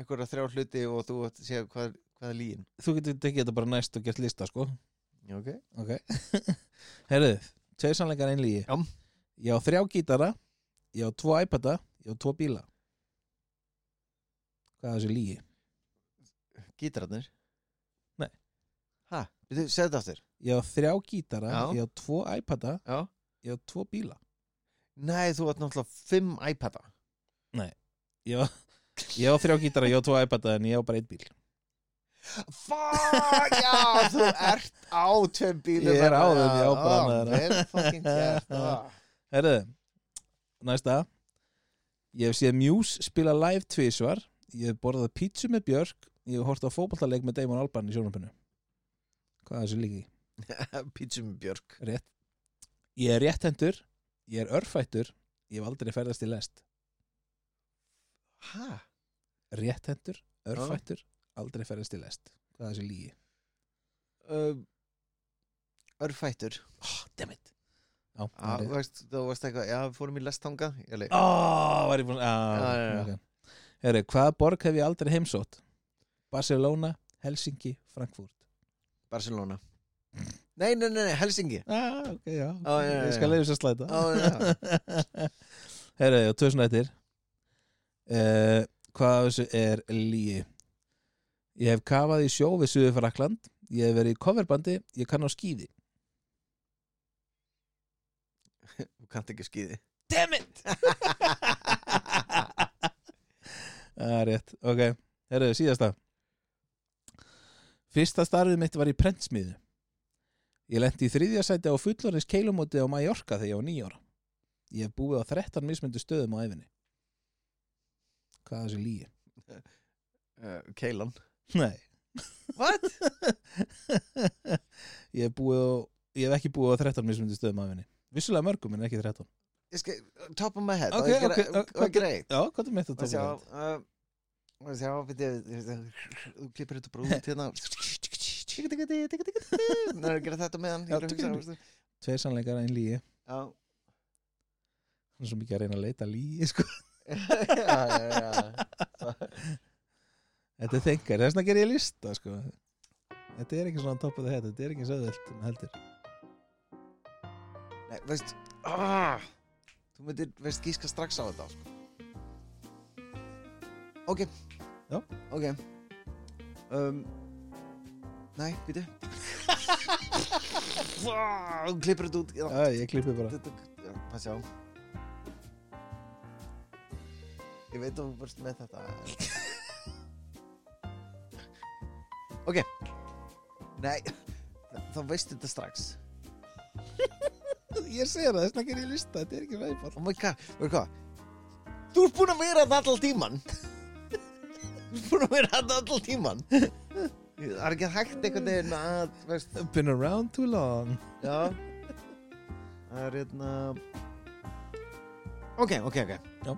Speaker 2: einhverja þrjá hluti og þú átt að segja hvað, hvað er líin
Speaker 1: þú getur tekið þetta bara næst og gert lista sko
Speaker 2: ok,
Speaker 1: Ok Herðu, tveir sannleikar einn lígi
Speaker 2: Já.
Speaker 1: Ég á þrjá gítara Ég á tvo iPada Ég á tvo bíla Hvað er þessi lígi?
Speaker 2: gítararnir
Speaker 1: Nei.
Speaker 2: hæ, segðu þetta aftur
Speaker 1: Ég á þrjá gítara
Speaker 2: Já.
Speaker 1: Ég á tvo iPada
Speaker 2: já,
Speaker 1: Ég á tvo bíla
Speaker 2: nei þú átt náttúrulega fimm iPada
Speaker 1: Ég á, ég á þrjá gítara Ég á tvo iPada En ég á bara einn bíl
Speaker 2: fuck, já, þú ert á tveim bílum
Speaker 1: Ég er á þeim,
Speaker 2: Já,
Speaker 1: já, bara
Speaker 2: ó,
Speaker 1: með þeirra.
Speaker 2: vel fucking gert, ó.
Speaker 1: Herðu, næsta Ég hef séð Muse spila live tvísvar Ég hef borðað pítsu með Björk Ég hef hort á fótballtaleik með Damon Albarn í sjónarpinu Hvað er þessu líki?
Speaker 2: Pítsum Björk
Speaker 1: Rétt Ég er rétthendur, ég er örfættur Ég hef aldrei ferðast í lest
Speaker 2: Hæ?
Speaker 1: Rétthendur, örfættur, aldrei ferðast í lest Hvað er þessu líki?
Speaker 2: Um, örfættur
Speaker 1: Oh, damn it Já,
Speaker 2: ah,
Speaker 1: ah,
Speaker 2: veist, Þú varst eitthvað, já, við fórum í lestanga Ég leik
Speaker 1: oh, var ég búin ah,
Speaker 2: Já, já, já.
Speaker 1: okay. Herri, hvaða borg hef ég aldrei heimsótt? Barcelona, Helsinki, Frankfurt
Speaker 2: Barcelona Nei, nei, nei, nei, Helsingi
Speaker 1: ah, ok, já,
Speaker 2: Á, já, já,
Speaker 1: Ég skal
Speaker 2: já.
Speaker 1: leiðis að slæta
Speaker 2: Á, já.
Speaker 1: Herra, já, tvö svona eittir uh, Hvað af þessu er líi? Ég hef kafað í sjó við suðu frakland Ég hef verið í coverbandi, ég kann á skíði
Speaker 2: Þú kannt ekki skýði
Speaker 1: Damn it! Það er rétt, ok Herra, síðasta Fyrsta starfið mitt var í prentsmiðu Ég lenti í þriðja sæti á fullorins keilumóti á Mallorca þegar ég var nýjóra Ég hef búið á 13 mismyndu stöðum á æfinni Hvað af þessu líi?
Speaker 2: uh, Keilan
Speaker 1: Nei
Speaker 2: What?
Speaker 1: ég hef búið á, ég hef ekki búið á 13 mismundi stöðum af henni vissulega mörgum en ekki 13
Speaker 2: Ég skal, top of my head
Speaker 1: Ok, ok,
Speaker 2: Það er
Speaker 1: ok.
Speaker 2: okay, greið
Speaker 1: já, hvað er mitt að
Speaker 2: Og sjá
Speaker 1: tóka
Speaker 2: uh, Og sjá, beti Þú klippir þetta bara út hérna Nei, er að gera þetta með hann
Speaker 1: Já, tukkið. tveir sannleikar einn líi
Speaker 2: Já,
Speaker 1: hann er svo mikið að reyna að leita líi sko.
Speaker 2: já, já, já.
Speaker 1: þetta er þengar, þess vegna ger ég lista sko. þetta er ekki svona topp of the head þetta er ekki söðvöld heldur
Speaker 2: Nei, veist ah, Þú myndir, veist, gíska strax á þetta sko. Ok
Speaker 1: Já.
Speaker 2: Ok um, Nei, býtu Vá, Þú klippir þetta út já.
Speaker 1: já, ég klippi bara
Speaker 2: Þetta, já, pass á Ég veit að þú varst með þetta en- Ok Nei, þá- þá veistu þetta strax
Speaker 1: ég segir það, þess vegna ger ég lista þetta er ekki veipall
Speaker 2: Oh my god, veitu hvað Þú ert búin að vera þetta allal tíman Þú ert búin að vera þetta allal tíman Það er ekki hægt einhvern veginn að veist,
Speaker 1: been around too long
Speaker 2: Já Það er hérna Ok, ok, ok
Speaker 1: Já.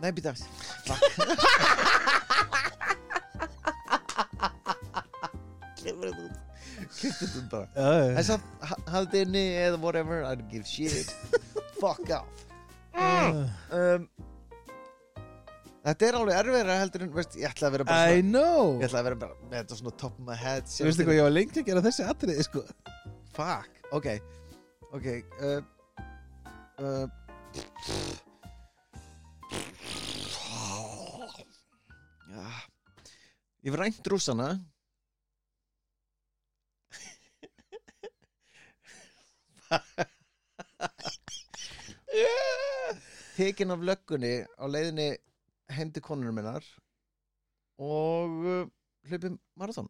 Speaker 2: Nei, býta Klippur þetta út Klippur þetta út bara En
Speaker 1: já,
Speaker 2: samt, ha- haldið inni eða whatever, I don't give shit Fuck off
Speaker 1: já.
Speaker 2: um, Þetta er alveg erfiðra heldur en, veist, ég ætla að vera bara
Speaker 1: I
Speaker 2: svona,
Speaker 1: know
Speaker 2: Ég ætla að vera bara, með þetta svona top of my head
Speaker 1: Þú veistu hvað ég var lengi að gera þessi atriði sko.
Speaker 2: Fuck, ok Ok uh, uh, Ah. Ég hef rænt rússana tekin af löggunni á leiðinni heim til konunum minnar og uh, hlupið marathon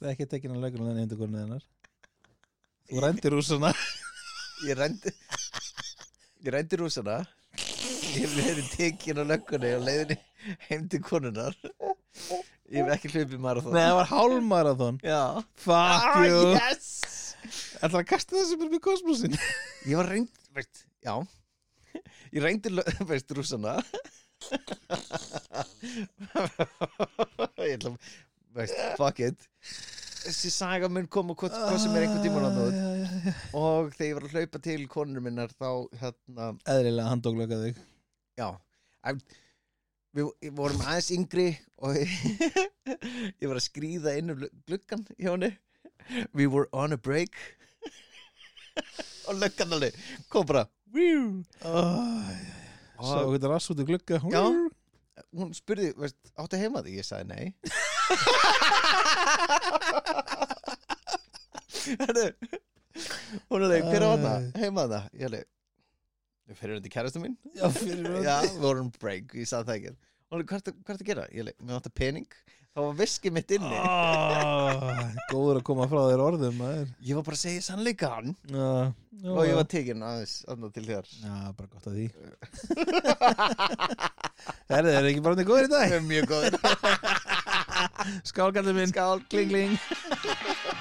Speaker 1: Það er ekki tekin að lögum þannig hendur konuð hennar Þú rændir úr svona
Speaker 2: ég rændi ég rændi rúsana ég hef verið tekin á löggunni á leiðinni heim til konunar ég hef ekki hlupið marathon
Speaker 1: Nei, það var hálmarathon
Speaker 2: já
Speaker 1: Fuck
Speaker 2: ah,
Speaker 1: you yeah.
Speaker 2: yes
Speaker 1: Það að kasta þessu bara með kosmosin
Speaker 2: ég var reynd, veist, já ég reyndi, lö- veist, rússana ég ætla, að- veist, fuck it þessi saga mun koma hvað, hvað sem er einhvern tímann annað
Speaker 1: annað
Speaker 2: og þegar ég var að hlaupa til konur minnar þá, hérna,
Speaker 1: Eðlilega hann tók lögga þig
Speaker 2: já en, við, við vorum aðeins yngri og ég var að skrýða inn um glu- gluggan hjá henni we were on a break og löggan alveg kom bara, wíu
Speaker 1: oh, Sá
Speaker 2: Og-
Speaker 1: hvernig rass út í glugga
Speaker 2: Já. hún spurði, veist, áttu heima því? Ég sagði nei Herru, Hún er leik, hver á það? Heima það? Ég er leik, fyrir hundi kærastu mín
Speaker 1: Já, fyrir
Speaker 2: Já, við vorum break, ég sagði það ekki Hún er, hvað ertu hvað ertu að gera? Ég leik, mér vantar pening Þá var viskið mitt inni
Speaker 1: Ah, Góður að koma frá þér orðum maður.
Speaker 2: Ég var bara að segja sannleikan
Speaker 1: Já, já,
Speaker 2: Og ég
Speaker 1: já.
Speaker 2: var tekin aðeins, aðna til þér
Speaker 1: Já, bara gott að því Herðu, eru ekki bara niður góðir í dag?
Speaker 2: Mjög góð
Speaker 1: Skálkallur minn
Speaker 2: Skál, kling, kling
Speaker 1: Kling, kling